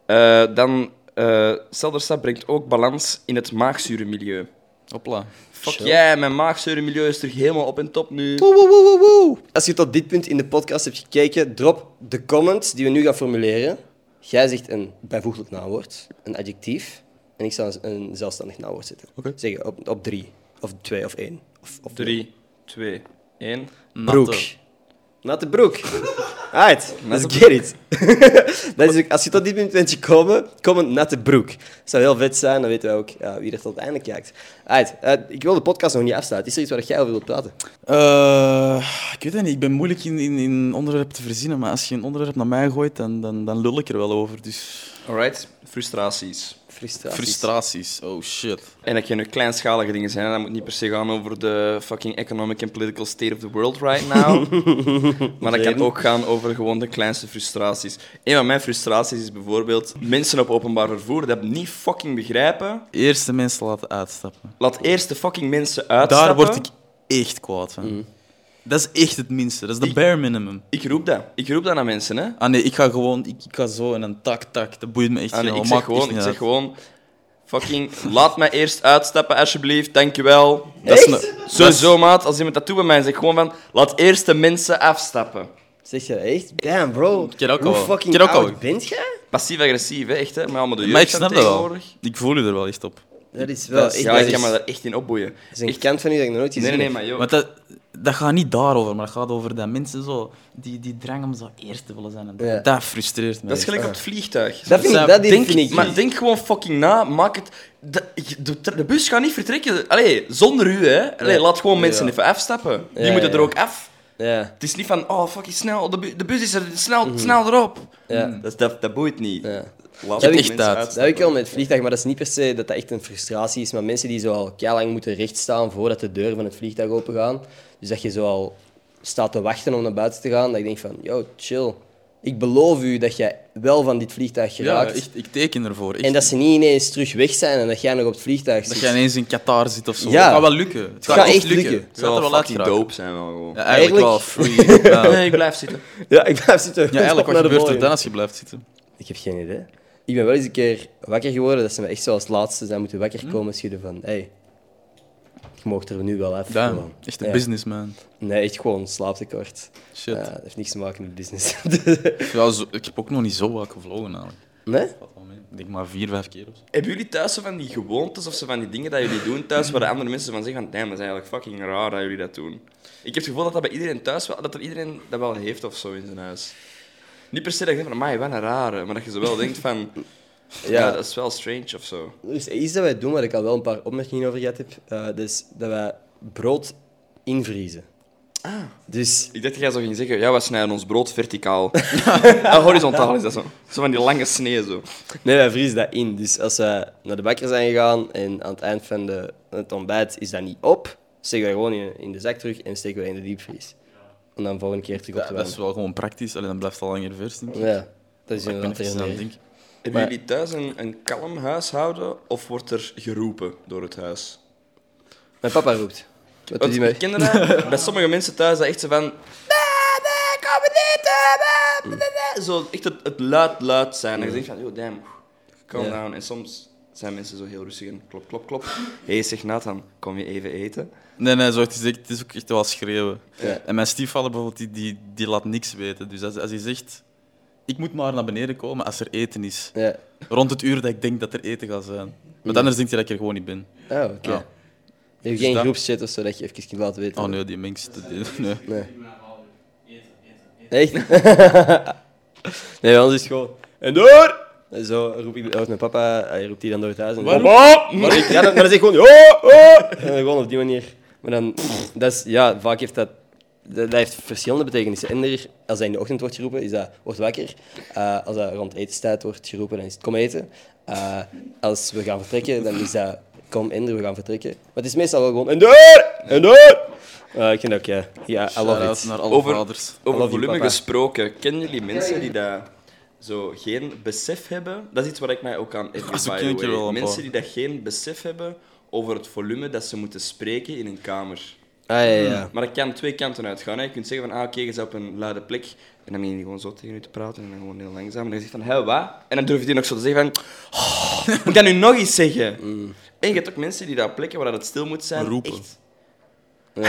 [SPEAKER 3] Eh, dan, eh Celdersap brengt ook balans in het maagzurenmilieu.
[SPEAKER 2] Hopla.
[SPEAKER 3] Fuck jij, mijn maagzurenmilieu is terug helemaal op en top nu.
[SPEAKER 1] Woe, woe, woe, woe, woe. Als je tot dit punt in de podcast hebt gekeken, drop de comment die we nu gaan formuleren. Jij zegt een bijvoeglijk naamwoord, een adjectief. En ik zou een zelfstandig naamwoord zetten.
[SPEAKER 2] Oké.
[SPEAKER 1] Zeggen op, op drie, of twee, of één. Of, of
[SPEAKER 3] 3, 2, 1.
[SPEAKER 1] broek. Natte broek. Alright, let's get it. dat is ook, als je tot dit punt bent gekomen, comment natte broek. Dat zou heel vet zijn, dan weten we ook ja, wie er tot het einde kijkt. Alright, eh, ik wil de podcast nog niet afsluiten. Is er iets waar jij over wilt praten?
[SPEAKER 2] Eh, ik weet het niet, ik ben moeilijk in, in, in onderwerp te verzinnen, maar als je een onderwerp naar mij gooit, dan, dan, dan lul ik er wel over. Dus
[SPEAKER 3] Alright, frustraties.
[SPEAKER 1] Frustratie.
[SPEAKER 2] frustraties, oh shit.
[SPEAKER 3] En dat kunnen kleinschalige dingen zijn. hè. Dat moet niet per se gaan over de fucking economic and political state of the world right now. maar dat kan ook gaan over gewoon de kleinste frustraties. Een van mijn frustraties is bijvoorbeeld mensen op openbaar vervoer dat niet fucking begrijpen.
[SPEAKER 2] Eerst de mensen laten uitstappen.
[SPEAKER 3] Laat eerst de fucking mensen uitstappen.
[SPEAKER 1] Mm.
[SPEAKER 2] Daar word ik echt kwaad van. Dat is echt het minste. Dat is de bare minimum.
[SPEAKER 3] Mm. Ik roep dat. Ik roep dat aan mensen, hè.
[SPEAKER 2] Ah nee, ik ga gewoon, ik, ik ga zo en dan tak, tak. Dat boeit me echt
[SPEAKER 3] Ah, nee,
[SPEAKER 2] helemaal.
[SPEAKER 3] ik
[SPEAKER 2] Maakt echt
[SPEAKER 3] zeg gewoon, ik
[SPEAKER 2] niet
[SPEAKER 3] zeg
[SPEAKER 2] uit.
[SPEAKER 3] gewoon... Fucking, laat mij eerst uitstappen, alsjeblieft. Dankjewel.
[SPEAKER 2] Dat is een-
[SPEAKER 3] Sowieso, maat. Als iemand dat doet bij mij, zeg gewoon van... Laat eerst de mensen afstappen.
[SPEAKER 1] Zeg je dat echt? Damn, bro.
[SPEAKER 2] ken ook
[SPEAKER 1] Hoe
[SPEAKER 2] al.
[SPEAKER 1] fucking
[SPEAKER 2] Ken ook al.
[SPEAKER 1] oud bent jij?
[SPEAKER 3] Passief-agressief, hè. Echt, hè. Met allemaal de jeugd
[SPEAKER 2] Maar ik
[SPEAKER 3] van
[SPEAKER 2] snap dat wel.
[SPEAKER 3] tegenwoordig.
[SPEAKER 2] Ik voel je er wel echt op.
[SPEAKER 1] Dat is wel echt...
[SPEAKER 3] Ja,
[SPEAKER 1] dat
[SPEAKER 3] ik kan
[SPEAKER 1] is-
[SPEAKER 3] me daar echt in opboeien.
[SPEAKER 1] Dat is een kant van u dat ik nog nooit
[SPEAKER 3] Nee,
[SPEAKER 1] gezien
[SPEAKER 3] nee,
[SPEAKER 1] heb.
[SPEAKER 3] nee, maar joh.
[SPEAKER 2] Want dat, dat gaat niet daarover, maar dat gaat over dat mensen zo, die, die drang om zo eerst te willen zijn. En
[SPEAKER 1] Ja.
[SPEAKER 2] Dat frustreert me.
[SPEAKER 3] Dat is
[SPEAKER 2] echt.
[SPEAKER 3] gelijk op het vliegtuig.
[SPEAKER 1] Dat vind ik,
[SPEAKER 2] Sam,
[SPEAKER 1] dat hier
[SPEAKER 2] denk-
[SPEAKER 1] vind ik...
[SPEAKER 3] Maar denk gewoon fucking na, maak het... De, de, de bus gaat niet vertrekken. Allee, zonder u, hè. Allee, laat gewoon mensen even afstappen. Die
[SPEAKER 1] Ja,
[SPEAKER 3] moeten
[SPEAKER 1] ja.
[SPEAKER 3] er ook af.
[SPEAKER 1] Ja,
[SPEAKER 3] Het is niet van, oh, fucking snel, de, bu- de bus is er, snel, snel erop.
[SPEAKER 1] Ja.
[SPEAKER 3] Dat, dat, dat boeit niet.
[SPEAKER 1] ja.
[SPEAKER 3] Laat
[SPEAKER 1] heb ik
[SPEAKER 3] mensen
[SPEAKER 2] dat.
[SPEAKER 1] Dat heb ik wel met het vliegtuig, maar dat is niet per se dat dat echt een frustratie is. Maar mensen die zo al lang moeten rechtstaan voordat de deuren van het vliegtuig open gaan. Dus dat je zo al staat te wachten om naar buiten te gaan. Dat ik denk van, yo, chill. Ik beloof u dat jij wel van dit vliegtuig
[SPEAKER 2] ja,
[SPEAKER 1] geraakt.
[SPEAKER 2] echt, ik teken ervoor. Echt.
[SPEAKER 1] en dat ze niet ineens terug weg zijn en dat jij nog op het vliegtuig zit.
[SPEAKER 2] Dat jij ineens in Qatar zit of zo.
[SPEAKER 1] Ja.
[SPEAKER 2] Het gaat wel lukken. Het,
[SPEAKER 1] gaat echt lukken.
[SPEAKER 2] Het gaat er wel uit
[SPEAKER 3] fucking
[SPEAKER 2] geraken.
[SPEAKER 3] dope zijn wel gewoon.
[SPEAKER 2] Ja, eigenlijk wel
[SPEAKER 1] Eigenlijk-
[SPEAKER 2] free. Ja.
[SPEAKER 3] Nee, ik blijf zitten.
[SPEAKER 1] Ja, ik blijf zitten.
[SPEAKER 2] Ja, eigenlijk,
[SPEAKER 1] Naar
[SPEAKER 2] wat
[SPEAKER 1] de
[SPEAKER 2] gebeurt er
[SPEAKER 1] volgende.
[SPEAKER 2] dan als je blijft zitten?
[SPEAKER 1] Ik heb geen idee. Ik ben wel eens een keer wakker geworden dat ze me echt zo als laatste zijn moeten
[SPEAKER 2] Hm?
[SPEAKER 1] wakker komen schudden van, hey, je mag er nu wel af.
[SPEAKER 2] Damn,
[SPEAKER 1] gewoon.
[SPEAKER 2] echt een
[SPEAKER 1] Ja.
[SPEAKER 2] businessman.
[SPEAKER 1] Nee, echt gewoon slaaptekort.
[SPEAKER 2] Shit.
[SPEAKER 1] Ja, dat heeft niks te maken met business.
[SPEAKER 2] Ja, zo- ik heb ook nog niet zo vaak gevlogen eigenlijk.
[SPEAKER 1] nee?
[SPEAKER 2] Valt wel mee. Ik denk maar vier, vijf keer of zo.
[SPEAKER 3] Hebben jullie thuis zo van die gewoontes of zo van die dingen dat jullie doen thuis, waar de andere mensen van zeggen van, damn, dat is eigenlijk fucking raar dat jullie dat doen? Ik heb het gevoel dat dat bij iedereen thuis wel, dat er iedereen dat wel heeft of zo in zijn huis. Niet per se dat je denkt van, amai, wat een rare, maar dat je zo wel denkt van, ja. dat is wel strange of zo.
[SPEAKER 1] Er is iets dat wij doen waar ik al wel een paar opmerkingen over gehad heb. Eh, dus dat wij brood invriezen. Ah. Dus
[SPEAKER 3] Ik dacht dat jij zo ging zeggen, ja, we snijden ons brood verticaal. en horizontaal is dat zo. Zo van die lange sneeën zo.
[SPEAKER 1] nee, wij vriezen dat in. Dus als we naar de bakker zijn gegaan en aan het eind van de, het ontbijt is dat niet op, steken we gewoon in, in de zak terug en steken we in de diepvries. En dan volgende keer terug op
[SPEAKER 2] Ja,
[SPEAKER 1] de
[SPEAKER 2] dat is
[SPEAKER 1] warm.
[SPEAKER 2] wel gewoon praktisch, alleen dan blijft het al langer vers, denk ik.
[SPEAKER 1] Ja, dat is
[SPEAKER 2] Maar ik ben
[SPEAKER 1] inderdaad
[SPEAKER 2] even
[SPEAKER 1] een
[SPEAKER 2] aan het
[SPEAKER 1] ding.
[SPEAKER 2] denken.
[SPEAKER 3] Hebben
[SPEAKER 1] Maar-
[SPEAKER 3] jullie thuis een, een kalm huishouden of wordt er geroepen door het huis?
[SPEAKER 1] Mijn papa roept. Wat doet
[SPEAKER 3] Want
[SPEAKER 1] hij mee?
[SPEAKER 3] ik ken dat, bij sommige mensen thuis dat echt zo van... Nee, nee, kom beneden! nee,
[SPEAKER 1] Mm.
[SPEAKER 3] nee, nee." Zo echt het, het luid, luid zijn. En je denkt van, yo, damn, calm
[SPEAKER 1] Ja.
[SPEAKER 3] down. En soms zijn mensen zo heel rustig en klop, klop, klop. Hé, hey, zeg Nathan, kom je even eten?
[SPEAKER 2] Nee, nee, zo, het, is echt, het is ook echt wel schreeuwen.
[SPEAKER 1] Ja.
[SPEAKER 2] En mijn stiefvader bijvoorbeeld, die, die, die laat niks weten. Dus als, als hij zegt, ik moet maar naar beneden komen als er eten is.
[SPEAKER 1] Ja.
[SPEAKER 2] Rond het uur dat ik denk dat er eten gaat zijn. Want anders denkt hij dat ik er gewoon niet ben.
[SPEAKER 1] Oh, oké.
[SPEAKER 2] Ja.
[SPEAKER 1] Heb je
[SPEAKER 2] Dus
[SPEAKER 1] geen
[SPEAKER 2] dat-
[SPEAKER 1] groepschat of zo dat je even kunt laten weten?
[SPEAKER 2] Oh nee, die mengste. die- nee.
[SPEAKER 1] Echt? nee, bij ons is het gewoon. En door! En Zo roep ik roept mijn papa, hij roept die dan door het huis. En Papa! Maar, ik, ja, dan, maar dan zeg ik gewoon. Oh, oh! En dan gewoon op die manier. Maar dan, dat is, ja, vaak heeft dat. Dat dat heeft verschillende betekenissen. En er, als hij in de ochtend wordt geroepen, is dat wordt wakker. Eh, als dat rond etenstijd wordt geroepen, dan is het kom eten. Eh, als we gaan vertrekken, dan is dat kom Ender, we gaan vertrekken. Maar het is meestal wel gewoon en door! En door! Eh, ik vind dat ook, ja. Ja, I love
[SPEAKER 2] Shout-out
[SPEAKER 1] it.
[SPEAKER 2] naar alle
[SPEAKER 3] Over-
[SPEAKER 2] vaders.
[SPEAKER 1] I love
[SPEAKER 3] Over
[SPEAKER 1] you,
[SPEAKER 3] volume
[SPEAKER 1] papa.
[SPEAKER 3] gesproken, kennen jullie mensen die dat zo geen besef hebben? Dat is iets waar ik mij ook aan heb.
[SPEAKER 2] zo
[SPEAKER 3] by
[SPEAKER 2] ken
[SPEAKER 3] the
[SPEAKER 2] ik er
[SPEAKER 3] way.
[SPEAKER 2] wel een
[SPEAKER 3] mensen
[SPEAKER 2] paar.
[SPEAKER 3] die dat geen besef hebben over het volume dat ze moeten spreken in een kamer.
[SPEAKER 1] Ah, ja, ja.
[SPEAKER 3] Maar dat kan twee kanten uitgaan. Hè. Je kunt zeggen van, ah, oké, je bent op een luide plek. En dan begin je gewoon zo tegen je te praten en dan gewoon heel langzaam. En dan zeg je van, hé, wat? En dan durf je die nog zo te zeggen van, "Oh, moet ik dat nu nog eens zeggen?
[SPEAKER 1] Mm.
[SPEAKER 3] En je hebt ook mensen die daar op plekken waar het stil moet zijn,
[SPEAKER 2] Roepen.
[SPEAKER 3] echt... Ja.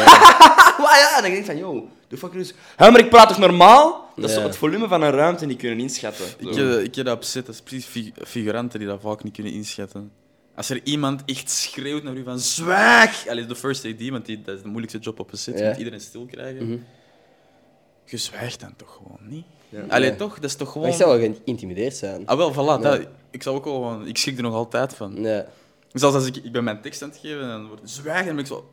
[SPEAKER 3] ja, en dan denk ik van, yo, doe fucking rustig. Hé, maar ik praat toch normaal? Dat is
[SPEAKER 1] Ja.
[SPEAKER 3] zo het volume van een ruimte niet kunnen inschatten.
[SPEAKER 2] Ik,
[SPEAKER 3] Zo.
[SPEAKER 2] eh, ik heb dat op zit, dat is precies fi- figuranten die dat vaak niet kunnen inschatten. Als er iemand echt schreeuwt naar u van zwijg! Allee, de first AD, want die, dat is de moeilijkste job op een set, je
[SPEAKER 1] Ja.
[SPEAKER 2] moet iedereen stil krijgen. Je zwijgt dan toch gewoon niet? Allee, toch? Dat is toch
[SPEAKER 1] Maar
[SPEAKER 2] gewoon...
[SPEAKER 1] ik zou Mm. wel geïntimideerd zijn. Ah,
[SPEAKER 2] Ah wel, voilà. Dat, ik zou ook wel gewoon... Ik schrik er nog altijd van.
[SPEAKER 1] Nee.
[SPEAKER 2] Zelfs als ik, ik ben mijn tekst aan het geven en dan wordt het zwijgen, dan ben ik zo...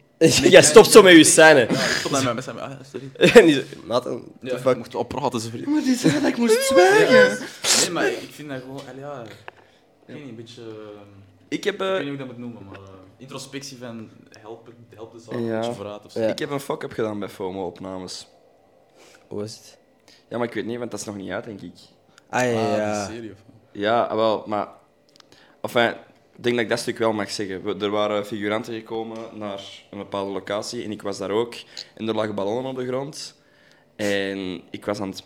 [SPEAKER 1] Jij stopt zo met je scène.
[SPEAKER 2] Ja, ik stop naar mijn best aan. Ah, sorry.
[SPEAKER 1] En die zo, Nathan,
[SPEAKER 2] Ja,
[SPEAKER 1] the
[SPEAKER 2] ik
[SPEAKER 1] fuck?
[SPEAKER 2] mocht wel praten, zo vriend.
[SPEAKER 3] Maar die zei dat ik moest zwijgen.
[SPEAKER 2] Nee, maar ik vind dat gewoon... Allee, ja... Ik weet niet, een beetje... ehm,
[SPEAKER 3] Ik heb,
[SPEAKER 2] Ik
[SPEAKER 3] eh,
[SPEAKER 2] weet niet hoe ik dat moet noemen, maar eh, introspectie van helpen, help de zaak
[SPEAKER 3] Ja.
[SPEAKER 2] een beetje vooruit of zo.
[SPEAKER 1] Ja.
[SPEAKER 3] ik heb een fuck-up gedaan bij FOMO-opnames.
[SPEAKER 1] Hoe was het?
[SPEAKER 3] Ja, maar ik weet niet, want dat is nog niet uit, denk ik.
[SPEAKER 1] Ah ja,
[SPEAKER 2] Ah, die
[SPEAKER 1] ja.
[SPEAKER 2] serie of-
[SPEAKER 3] Ja, ah, wel, maar... Enfin, Ik denk dat ik dat stuk wel mag zeggen. We- er waren figuranten gekomen naar een bepaalde locatie en ik was daar ook. En er lagen ballonnen op de grond. En ik was aan het,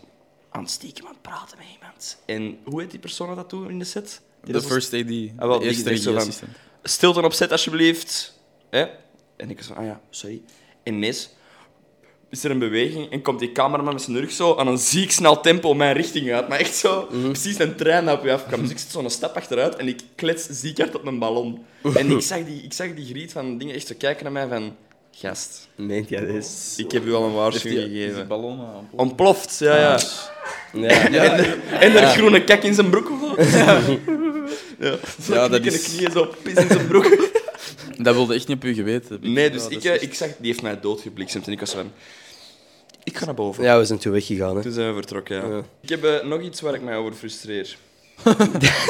[SPEAKER 3] aan het stiekem aan het praten met iemand. En hoe heet die persoon dat toen in de set?
[SPEAKER 2] De
[SPEAKER 3] Die dat-
[SPEAKER 2] first AD, de
[SPEAKER 3] Ah, wel, die
[SPEAKER 2] eerste
[SPEAKER 3] zegt zo van-
[SPEAKER 2] regieassistent.
[SPEAKER 3] stilte op set alsjeblieft. Hè? En ik was van, ah ja, sorry. En ineens is er een beweging en komt die cameraman met zijn rug zo aan een ziek snel tempo mijn richting uit. Maar echt zo, precies een trein dat op je afkwam. Dus ik zit zo'n stap achteruit en ik klets ziek hard op mijn ballon. En ik zag die, ik zag die griet van dingen echt zo kijken naar mij van, gast,
[SPEAKER 1] Meent jij dit?
[SPEAKER 3] ik heb u al een waarschuwing
[SPEAKER 2] Die- die
[SPEAKER 3] gegeven.
[SPEAKER 2] ballonnen aan boord.
[SPEAKER 3] Ontploft, ja, ja.
[SPEAKER 1] Ja.
[SPEAKER 3] En er groene kak in zijn broek. Ja,
[SPEAKER 2] Ja,
[SPEAKER 3] dat
[SPEAKER 2] dat
[SPEAKER 3] is...
[SPEAKER 2] is-
[SPEAKER 3] knieën zo, pis in zijn broek.
[SPEAKER 2] Dat wilde echt niet op u geweten. hebben.
[SPEAKER 3] Nee, dus
[SPEAKER 2] Ja,
[SPEAKER 3] ik,
[SPEAKER 2] dat is
[SPEAKER 3] eh, ik zag, die heeft mij doodgebliksemd en ik was van, ik ga naar boven.
[SPEAKER 1] ja, we zijn toen weggegaan. Hè.
[SPEAKER 3] Toen zijn we vertrokken, ja.
[SPEAKER 1] Ja.
[SPEAKER 3] Ik heb eh, nog iets waar ik mij over frustreer.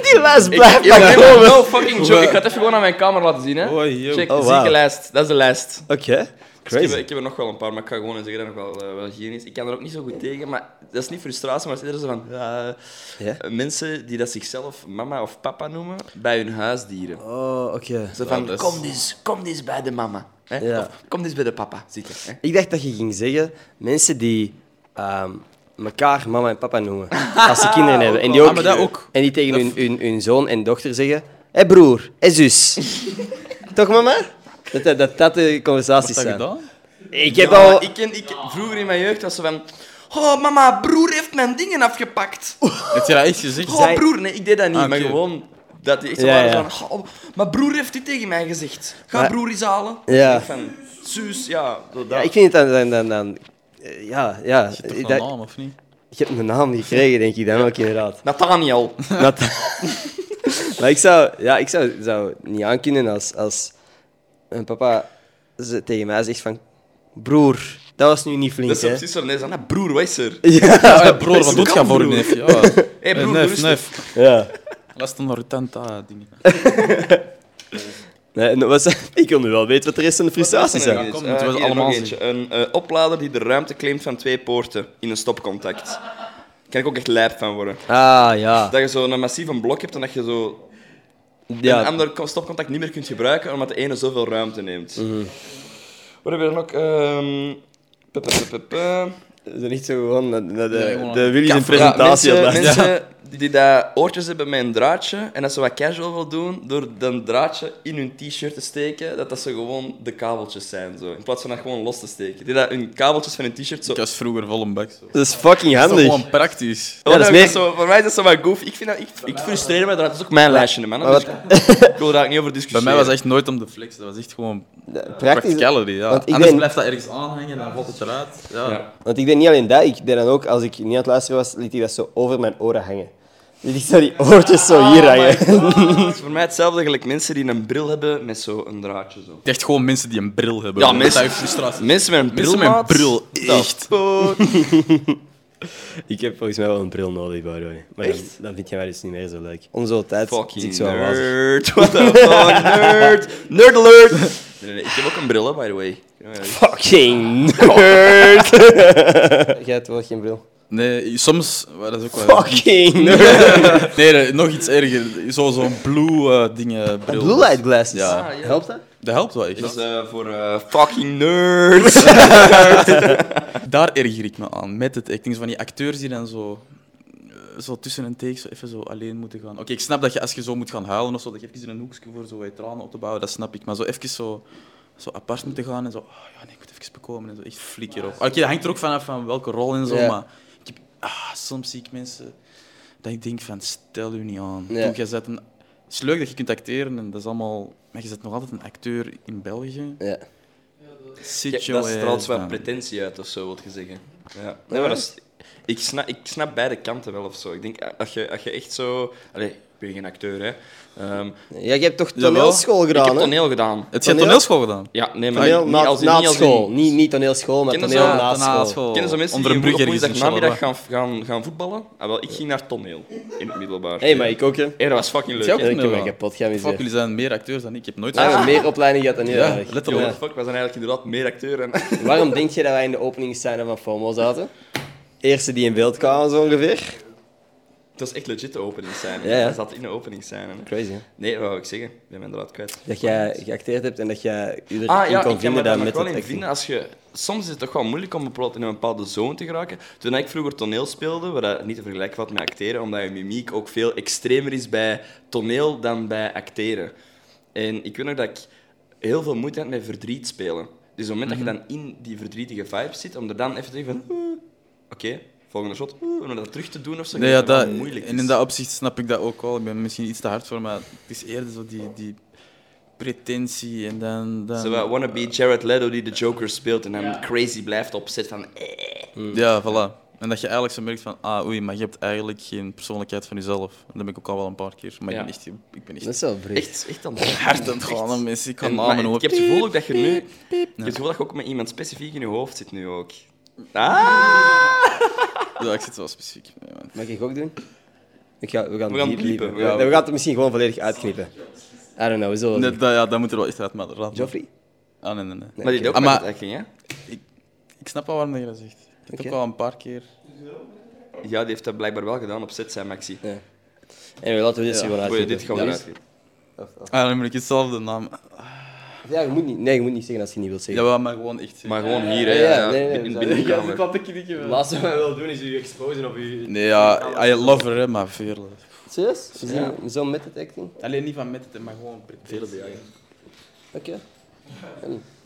[SPEAKER 1] Die lijst
[SPEAKER 3] Ik,
[SPEAKER 1] blijft
[SPEAKER 3] ik-
[SPEAKER 1] maar
[SPEAKER 3] no,
[SPEAKER 1] komen.
[SPEAKER 3] no fucking joke. Ik ga het even gewoon aan mijn kamer laten zien, hè.
[SPEAKER 2] echt- Oei, joh.
[SPEAKER 3] Check,
[SPEAKER 1] Oh,
[SPEAKER 3] zieke
[SPEAKER 1] wauw.
[SPEAKER 3] lijst. Dat is de lijst.
[SPEAKER 1] Oké,
[SPEAKER 3] Dus ik, heb,
[SPEAKER 1] crazy.
[SPEAKER 3] ik heb er nog wel een paar, maar ik ga gewoon eens zeggen dat er nog wel, eh, wel geen is. Ik kan er ook niet zo goed tegen, maar dat is niet frustratie, maar het is eerder zo van... ja,
[SPEAKER 1] Ja?
[SPEAKER 3] eh, Mensen die dat zichzelf mama of papa noemen, bij hun huisdieren.
[SPEAKER 1] Oh, oké.
[SPEAKER 3] Zo van,
[SPEAKER 2] dat is-
[SPEAKER 3] kom eens, kom eens bij de mama. Hè?
[SPEAKER 1] Ja.
[SPEAKER 3] Of kom eens bij de papa, zitten. Hè?
[SPEAKER 1] Ik dacht dat je ging zeggen, mensen die ehm, elkaar mama en papa noemen, als ze kinderen hebben. En die, ook,
[SPEAKER 2] Ah, maar dat ook.
[SPEAKER 1] En die tegen hun, hun, hun zoon en dochter zeggen, hé broer, hé zus. Toch mama? Dat dat, dat, dat de conversaties
[SPEAKER 2] Wat heb je
[SPEAKER 1] zijn.
[SPEAKER 2] gedaan?
[SPEAKER 1] Ik heb
[SPEAKER 3] Ja,
[SPEAKER 1] al...
[SPEAKER 3] ik ken, ik, vroeger in mijn jeugd was ze van... Oh, mama, broer heeft mijn dingen afgepakt.
[SPEAKER 2] Heb je dat echt gezegd?
[SPEAKER 3] Oh, broer. Nee, ik deed dat niet.
[SPEAKER 2] Ah,
[SPEAKER 3] Maar
[SPEAKER 2] oké.
[SPEAKER 3] gewoon... Dat die echt zo
[SPEAKER 1] Ja,
[SPEAKER 3] waren
[SPEAKER 1] ja.
[SPEAKER 3] van... Oh, maar broer heeft dit tegen mij gezegd. Ga
[SPEAKER 1] Maar-
[SPEAKER 3] broer eens halen.
[SPEAKER 1] Ja.
[SPEAKER 3] Ik van... Suus, ja. zo dat.
[SPEAKER 1] Ja, ik vind het dan... dan, dan, dan- eh, ja, ja.
[SPEAKER 2] Toch
[SPEAKER 1] Ik-
[SPEAKER 2] een
[SPEAKER 1] dat-
[SPEAKER 2] naam, of niet?
[SPEAKER 1] ik heb een naam gekregen, denk ik dan ook, inderdaad.
[SPEAKER 3] Nathaniel.
[SPEAKER 1] Dat... maar ik zou, ja, ik zou, zou niet aankunnen als, als mijn papa ze- tegen mij zegt van... Broer, dat was nu niet flink,
[SPEAKER 3] Dat is zo
[SPEAKER 1] hè.
[SPEAKER 3] precies zo. Nee, zo, "Nou, broer, wat is er?
[SPEAKER 2] Ja, hey, broer, wat
[SPEAKER 3] Kan,
[SPEAKER 2] doet je voor
[SPEAKER 3] broer.
[SPEAKER 2] een neef? Ja.
[SPEAKER 3] hey, broer,
[SPEAKER 2] neef,
[SPEAKER 3] rustig.
[SPEAKER 2] neef.
[SPEAKER 1] Ja.
[SPEAKER 2] Laat dan naar Tanta dingen.
[SPEAKER 1] Nee, en wat ze- ik wil nu wel weten wat de rest van de frustraties
[SPEAKER 3] Wat was er nog
[SPEAKER 1] zijn.
[SPEAKER 2] Kom,
[SPEAKER 3] eens? Eh,
[SPEAKER 2] moeten we ze
[SPEAKER 3] hier
[SPEAKER 2] allemaal
[SPEAKER 3] nog eentje. Een eh, oplader die de ruimte claimt van twee poorten in een stopcontact. Daar kan ik ook echt lijp van worden.
[SPEAKER 1] Ah, ja.
[SPEAKER 3] Dat je zo'n massief blok hebt en dat je zo een
[SPEAKER 1] ja.
[SPEAKER 3] ander stopcontact niet meer kunt gebruiken omdat de ene zoveel ruimte neemt. Wat hebben we dan ook? Ehm, pe- pe- pe- pe- pe.
[SPEAKER 1] Ze zijn niet zo gewoon naar, naar de,
[SPEAKER 2] Nee, gewoon-
[SPEAKER 1] de Willy's
[SPEAKER 3] Ja,
[SPEAKER 1] een presentatie
[SPEAKER 3] mensen,
[SPEAKER 1] op laten.
[SPEAKER 3] mensen die dat oortjes hebben met een draadje en dat ze wat casual wil doen, door dat draadje in hun t-shirt te steken, dat dat ze gewoon de kabeltjes zijn. Zo. In plaats van dat gewoon los te steken. Die dat hun kabeltjes van hun t-shirt zo...
[SPEAKER 2] Ik was vroeger vol een bak. Zo.
[SPEAKER 1] Dat is fucking
[SPEAKER 2] Dat is toch
[SPEAKER 1] handig.
[SPEAKER 2] gewoon praktisch.
[SPEAKER 1] Ja, dat is
[SPEAKER 3] Oh,
[SPEAKER 1] meer-
[SPEAKER 3] zo- voor mij is dat zo wat goof. Ik, vind dat, ik, ik frustreer me daar. Dat is ook mijn lijstje, man. Dus
[SPEAKER 1] Maar wat-
[SPEAKER 3] ik wil daar ook niet over
[SPEAKER 2] Bij
[SPEAKER 3] discussiëren.
[SPEAKER 2] mij was het echt nooit om de flex. Dat was echt gewoon
[SPEAKER 1] Praktisch.
[SPEAKER 2] practicality. Ja.
[SPEAKER 1] Want ik
[SPEAKER 2] Anders
[SPEAKER 1] ben-
[SPEAKER 2] blijft dat ergens aanhangen en dan valt het eruit. Ja.
[SPEAKER 3] Ja.
[SPEAKER 1] Want ik deed niet alleen dat, ik deed dan ook, als ik niet aan het luisteren was, liet ik dat zo over mijn oren hangen. Dus ik zou die oortjes zo
[SPEAKER 3] Oh
[SPEAKER 1] hier hangen.
[SPEAKER 3] Het is voor mij hetzelfde gelijk mensen die een bril hebben met zo'n draadje zo.
[SPEAKER 2] Echt gewoon mensen die een bril hebben.
[SPEAKER 3] Ja,
[SPEAKER 2] Dat
[SPEAKER 3] mensen-
[SPEAKER 2] is frustratie.
[SPEAKER 3] Mensen met een bril,
[SPEAKER 2] Mensen met een
[SPEAKER 3] maat.
[SPEAKER 2] bril,
[SPEAKER 3] Dat
[SPEAKER 2] echt.
[SPEAKER 3] fuck.
[SPEAKER 1] Ik heb volgens mij wel een bril nodig, by the way. Maar dan, dan vind je mij dus niet meer zo leuk. Om zo'n tijd zit ik
[SPEAKER 3] Fucking
[SPEAKER 1] zo aan wazig.
[SPEAKER 3] nerd. What the fuck, nerd. Nerd alert. Nee, nee, nee, ik heb ook een bril, hè, by the way. Ja, ja.
[SPEAKER 1] Fucking nerd! Jij hebt wel geen bril.
[SPEAKER 2] Nee, soms... maar Dat is ook wel...
[SPEAKER 1] Fucking nerd!
[SPEAKER 2] Nee, nee, nog iets erger. Zo- Zo'n blue eh, dingen bril.
[SPEAKER 1] Blue light glasses.
[SPEAKER 2] Ja.
[SPEAKER 1] Helpt dat?
[SPEAKER 2] Dat helpt wel echt.
[SPEAKER 3] Dat is eh, voor eh, fucking nerds.
[SPEAKER 2] Daar erger ik me aan, met het acting. Zo Van die acteurs die dan zo, eh, zo tussen een take zo even zo alleen moeten gaan. Oké, ik snap dat je als je zo moet gaan huilen of zo, dat je even in een hoekje voor zo wat tranen op te bouwen, dat snap ik. Maar zo even zo, zo apart moeten gaan en zo, oh, ja, nee, ik moet even bekomen en zo, echt flikker op. Oké, dat hangt er ook vanaf van welke rol en zo,
[SPEAKER 1] Ja.
[SPEAKER 2] maar ik heb, ah, soms zie ik mensen dat ik denk van, stel u niet aan.
[SPEAKER 1] Ja.
[SPEAKER 2] Doe, jij zet een, het is leuk dat je kunt acteren en dat is allemaal, maar je zet nog altijd een acteur in België.
[SPEAKER 1] Ja.
[SPEAKER 2] Sit
[SPEAKER 3] Ja,
[SPEAKER 2] your
[SPEAKER 3] dat
[SPEAKER 2] ass
[SPEAKER 3] straalt wel
[SPEAKER 2] down.
[SPEAKER 3] pretentie uit of zo, wil je zeggen. Ja. Nee, maar dat is- ik, snap, ik snap beide kanten wel of zo. Ik denk, eh, als je, als je echt zo. Allee, ik ben geen acteur, hè. Ehm,
[SPEAKER 1] Ja, jij hebt toch
[SPEAKER 2] Jawel.
[SPEAKER 1] toneelschool
[SPEAKER 3] ik heb
[SPEAKER 1] gedaan, hè?
[SPEAKER 3] toneel gedaan.
[SPEAKER 2] Het jij
[SPEAKER 1] Toneel?
[SPEAKER 2] toneelschool gedaan?
[SPEAKER 3] Ja, nee, maar
[SPEAKER 1] Toneel
[SPEAKER 3] niet
[SPEAKER 1] na,
[SPEAKER 3] als in-
[SPEAKER 1] na
[SPEAKER 3] niet als in-
[SPEAKER 1] school. Niet, niet toneelschool, maar
[SPEAKER 3] Kennen ze
[SPEAKER 1] toneel
[SPEAKER 3] dat?
[SPEAKER 1] na school.
[SPEAKER 3] Kennen zo mensen
[SPEAKER 2] Onder een
[SPEAKER 3] die
[SPEAKER 2] brug
[SPEAKER 3] op
[SPEAKER 2] ergens in Charleroi.
[SPEAKER 3] woensdagnamiddag gaan, gaan, gaan voetballen? Ah, wel, ik ging naar toneel in het middelbaar.
[SPEAKER 1] Hé, hey, maar ik ook, hè.
[SPEAKER 3] Hey, dat was fucking leuk.
[SPEAKER 2] Jij ook?
[SPEAKER 3] hè?
[SPEAKER 1] Ja, ik heb
[SPEAKER 2] toneel
[SPEAKER 1] mij
[SPEAKER 2] gedaan.
[SPEAKER 1] kapot geamuseerd.
[SPEAKER 2] Fuck, jullie zijn meer acteurs dan ik. Ik heb
[SPEAKER 3] Ah,
[SPEAKER 2] nooit...
[SPEAKER 1] We hebben meer opleiding gehad dan jullie
[SPEAKER 2] Ja,
[SPEAKER 1] eigenlijk.
[SPEAKER 2] letterlijk.
[SPEAKER 3] Jongen,
[SPEAKER 1] Ja.
[SPEAKER 3] fuck, we zijn eigenlijk inderdaad meer acteur. En...
[SPEAKER 1] Waarom denk je dat wij in de openingsscène van FOMO zaten? Eerste die in beeld kwamen, zo ongeveer.
[SPEAKER 3] Het was echt legit de openingsscène.
[SPEAKER 1] Ja, ja.
[SPEAKER 3] Dat zat in de openingsscène. hè.
[SPEAKER 1] Crazy, hè?
[SPEAKER 3] Nee, wat wou ik zeggen? Ik ben me inderdaad kwijt.
[SPEAKER 1] Dat jij geacteerd hebt en dat jij je erin
[SPEAKER 3] Ah ja,
[SPEAKER 1] kon
[SPEAKER 3] ik kan me
[SPEAKER 1] vinden
[SPEAKER 3] daar
[SPEAKER 1] dan met
[SPEAKER 3] nog wel
[SPEAKER 1] het
[SPEAKER 3] in
[SPEAKER 1] acting.
[SPEAKER 3] vinden. Als je, soms is het toch wel moeilijk om bijvoorbeeld in een bepaalde zone te geraken. Toen ik vroeger toneel speelde, wat dat niet te vergelijken valt met acteren, omdat je mimiek ook veel extremer is bij toneel dan bij acteren. En ik weet nog dat ik heel veel moeite had met verdriet spelen. Dus op het moment
[SPEAKER 1] Mhm.
[SPEAKER 3] dat je dan in die verdrietige vibe zit, om er dan even te zeggen van... "Oeh, Oké, volgende shot. oeh," en om dat terug te doen of zo, ik
[SPEAKER 2] Nee, ja,
[SPEAKER 3] denk dat
[SPEAKER 2] dat,
[SPEAKER 3] wel moeilijk dus-
[SPEAKER 2] en
[SPEAKER 3] is.
[SPEAKER 2] in dat opzicht snap ik dat ook wel. Ik ben misschien iets te hard voor, maar het is eerder zo die, die pretentie en dan... dan
[SPEAKER 3] Zo, uh, wannabe Jared Leto die de Joker speelt en dan crazy blijft opzetten van... "Eh."
[SPEAKER 1] Mhm.
[SPEAKER 2] Ja, voilà. En dat je eigenlijk zo merkt van, ah oei, maar je hebt eigenlijk geen persoonlijkheid van jezelf. Dat ben ik ook al wel een paar keer. Maar
[SPEAKER 3] Ja.
[SPEAKER 2] ik ben echt, ik ben echt,
[SPEAKER 1] Dat is wel breed.
[SPEAKER 3] Echt, echt dan
[SPEAKER 2] hard aan het gaan, hè, mensen. Ik kan
[SPEAKER 3] En-
[SPEAKER 2] namen
[SPEAKER 3] maar
[SPEAKER 2] hoor.
[SPEAKER 3] ik heb het gevoel ook dat je nu... Ik heb het gevoel dat je ook met iemand specifiek in je hoofd zit nu ook. Ah!
[SPEAKER 2] Ja, ik zit wel specifiek. Nee, man.
[SPEAKER 1] Mag ik ook doen? Ik ga, we gaan,
[SPEAKER 3] We gaan
[SPEAKER 1] diep
[SPEAKER 3] bliepen,
[SPEAKER 1] liepen.
[SPEAKER 3] we gaan-
[SPEAKER 1] Nee, we gaan het misschien gewoon volledig uitknippen. I don't know, we zullen...
[SPEAKER 2] Nee, dat, ja, dat moet er wel echt uit, maar raad maar.
[SPEAKER 1] Joffrey?
[SPEAKER 2] Ah, nee, nee, nee.
[SPEAKER 3] Maar die deed ook
[SPEAKER 2] Ah,
[SPEAKER 3] met
[SPEAKER 2] maar-
[SPEAKER 3] het acting, hè?
[SPEAKER 2] Ik snap wel waarom dat je dat zegt. Ik heb het
[SPEAKER 1] Oké.
[SPEAKER 2] ook al een paar keer...
[SPEAKER 3] Ja, die heeft dat blijkbaar wel gedaan op set, zei Maxi.
[SPEAKER 1] Anyway, laten we dit gewoon
[SPEAKER 3] Oei,
[SPEAKER 1] uitknippen.
[SPEAKER 3] dit gaan we
[SPEAKER 1] Ja.
[SPEAKER 3] eruit.
[SPEAKER 2] Ah, dan moet ik hetzelfde naam...
[SPEAKER 1] Ja, je moet niet, nee, je moet niet zeggen als je niet wilt zeggen.
[SPEAKER 2] Ja, maar gewoon echt...
[SPEAKER 3] Maar gewoon hier, hè?
[SPEAKER 1] Ja,
[SPEAKER 3] Ja,
[SPEAKER 1] nee, nee,
[SPEAKER 3] in de
[SPEAKER 1] we zijn-
[SPEAKER 3] binnenkamer.
[SPEAKER 1] Het laatste wat we willen doen is u exposen op u.
[SPEAKER 2] Nee, ja, I love her, hè, maar veel...
[SPEAKER 1] Serieus? Is die Zo met het acting?
[SPEAKER 2] Alleen niet van met het, maar gewoon veel bejagen.
[SPEAKER 1] Oké.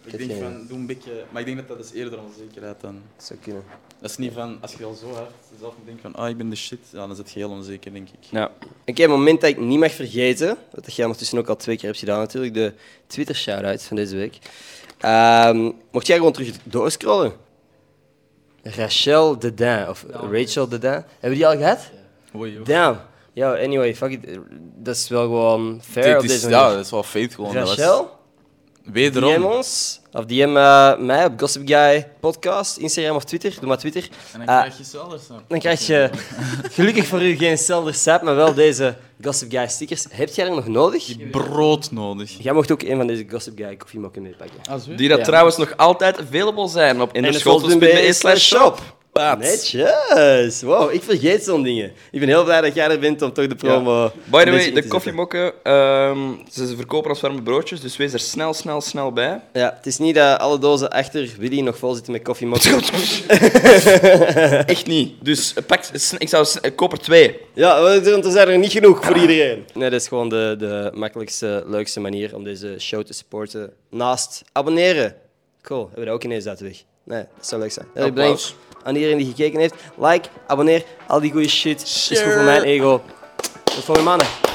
[SPEAKER 2] Ik denk van, doe een beetje... Maar ik denk dat dat is eerder onzekerheid dan...
[SPEAKER 1] Zou kunnen.
[SPEAKER 2] Dat is niet van, als je al zo hard zelf denkt van, ah, ik ben de shit, ja, dan is het heel onzeker, denk ik.
[SPEAKER 3] Ja.
[SPEAKER 1] Oké, een moment dat ik niet mag vergeten, wat dat jij ondertussen ook al twee keer hebt gedaan natuurlijk, de Twitter shout-out van deze week. Ehm, mocht jij gewoon terug doorscrollen? Rachel Dedin, of Rachel Dedin. Hebben we die al gehad?
[SPEAKER 2] Oei, joh.
[SPEAKER 1] Damn. Ja, anyway, fuck it. Dat is wel gewoon fair op
[SPEAKER 2] Dit is,
[SPEAKER 1] deze
[SPEAKER 2] ja,
[SPEAKER 1] manier.
[SPEAKER 2] dat is wel feit gewoon. dat was-
[SPEAKER 1] Rachel? DM
[SPEAKER 2] Wederom.
[SPEAKER 1] ons, of DM eh, mij op Gossip Guy Podcast, Instagram of Twitter. Doe maar Twitter.
[SPEAKER 2] En dan
[SPEAKER 1] Ah.
[SPEAKER 2] krijg je zelfs zo.
[SPEAKER 1] Dan krijg je gelukkig voor u geen Selder Sap, maar wel deze Gossip Guy stickers. Heb jij er nog nodig?
[SPEAKER 2] Brood nodig.
[SPEAKER 1] Jij mocht ook een van deze Gossip Guy koffiemokken meepakken.
[SPEAKER 3] Die dat
[SPEAKER 1] Ja.
[SPEAKER 3] trouwens nog altijd available zijn op
[SPEAKER 1] schoolpunt.be slash
[SPEAKER 3] indeschotels.be/shop.
[SPEAKER 1] Netjes. Wow, ik vergeet zo'n dingen. Ik ben heel blij dat jij er bent om toch de promo... een
[SPEAKER 3] By the
[SPEAKER 1] beetje
[SPEAKER 3] way,
[SPEAKER 1] in
[SPEAKER 3] de
[SPEAKER 1] te
[SPEAKER 3] koffiemokken, ehm, ze ze verkopen als warme broodjes, dus wees er snel, snel, snel bij.
[SPEAKER 1] zetten. Ja, het is niet dat alle dozen achter Willy nog vol zitten met koffiemokken.
[SPEAKER 3] Echt niet. Dus eh, pak, s- ik zou, s- eh, koop er twee.
[SPEAKER 1] Ja, want er zijn er niet genoeg voor iedereen. Nee, dat is gewoon de, de makkelijkste, leukste manier om deze show te supporten. Naast abonneren. Cool, hebben we dat ook ineens uit de weg. Nee, dat zou leuk zijn. Heel erg bedankt
[SPEAKER 3] Applaus.
[SPEAKER 1] aan iedereen die gekeken heeft. Like, abonneer, al die goede shit. Is goed voor mijn ego. Tot volgende maandag.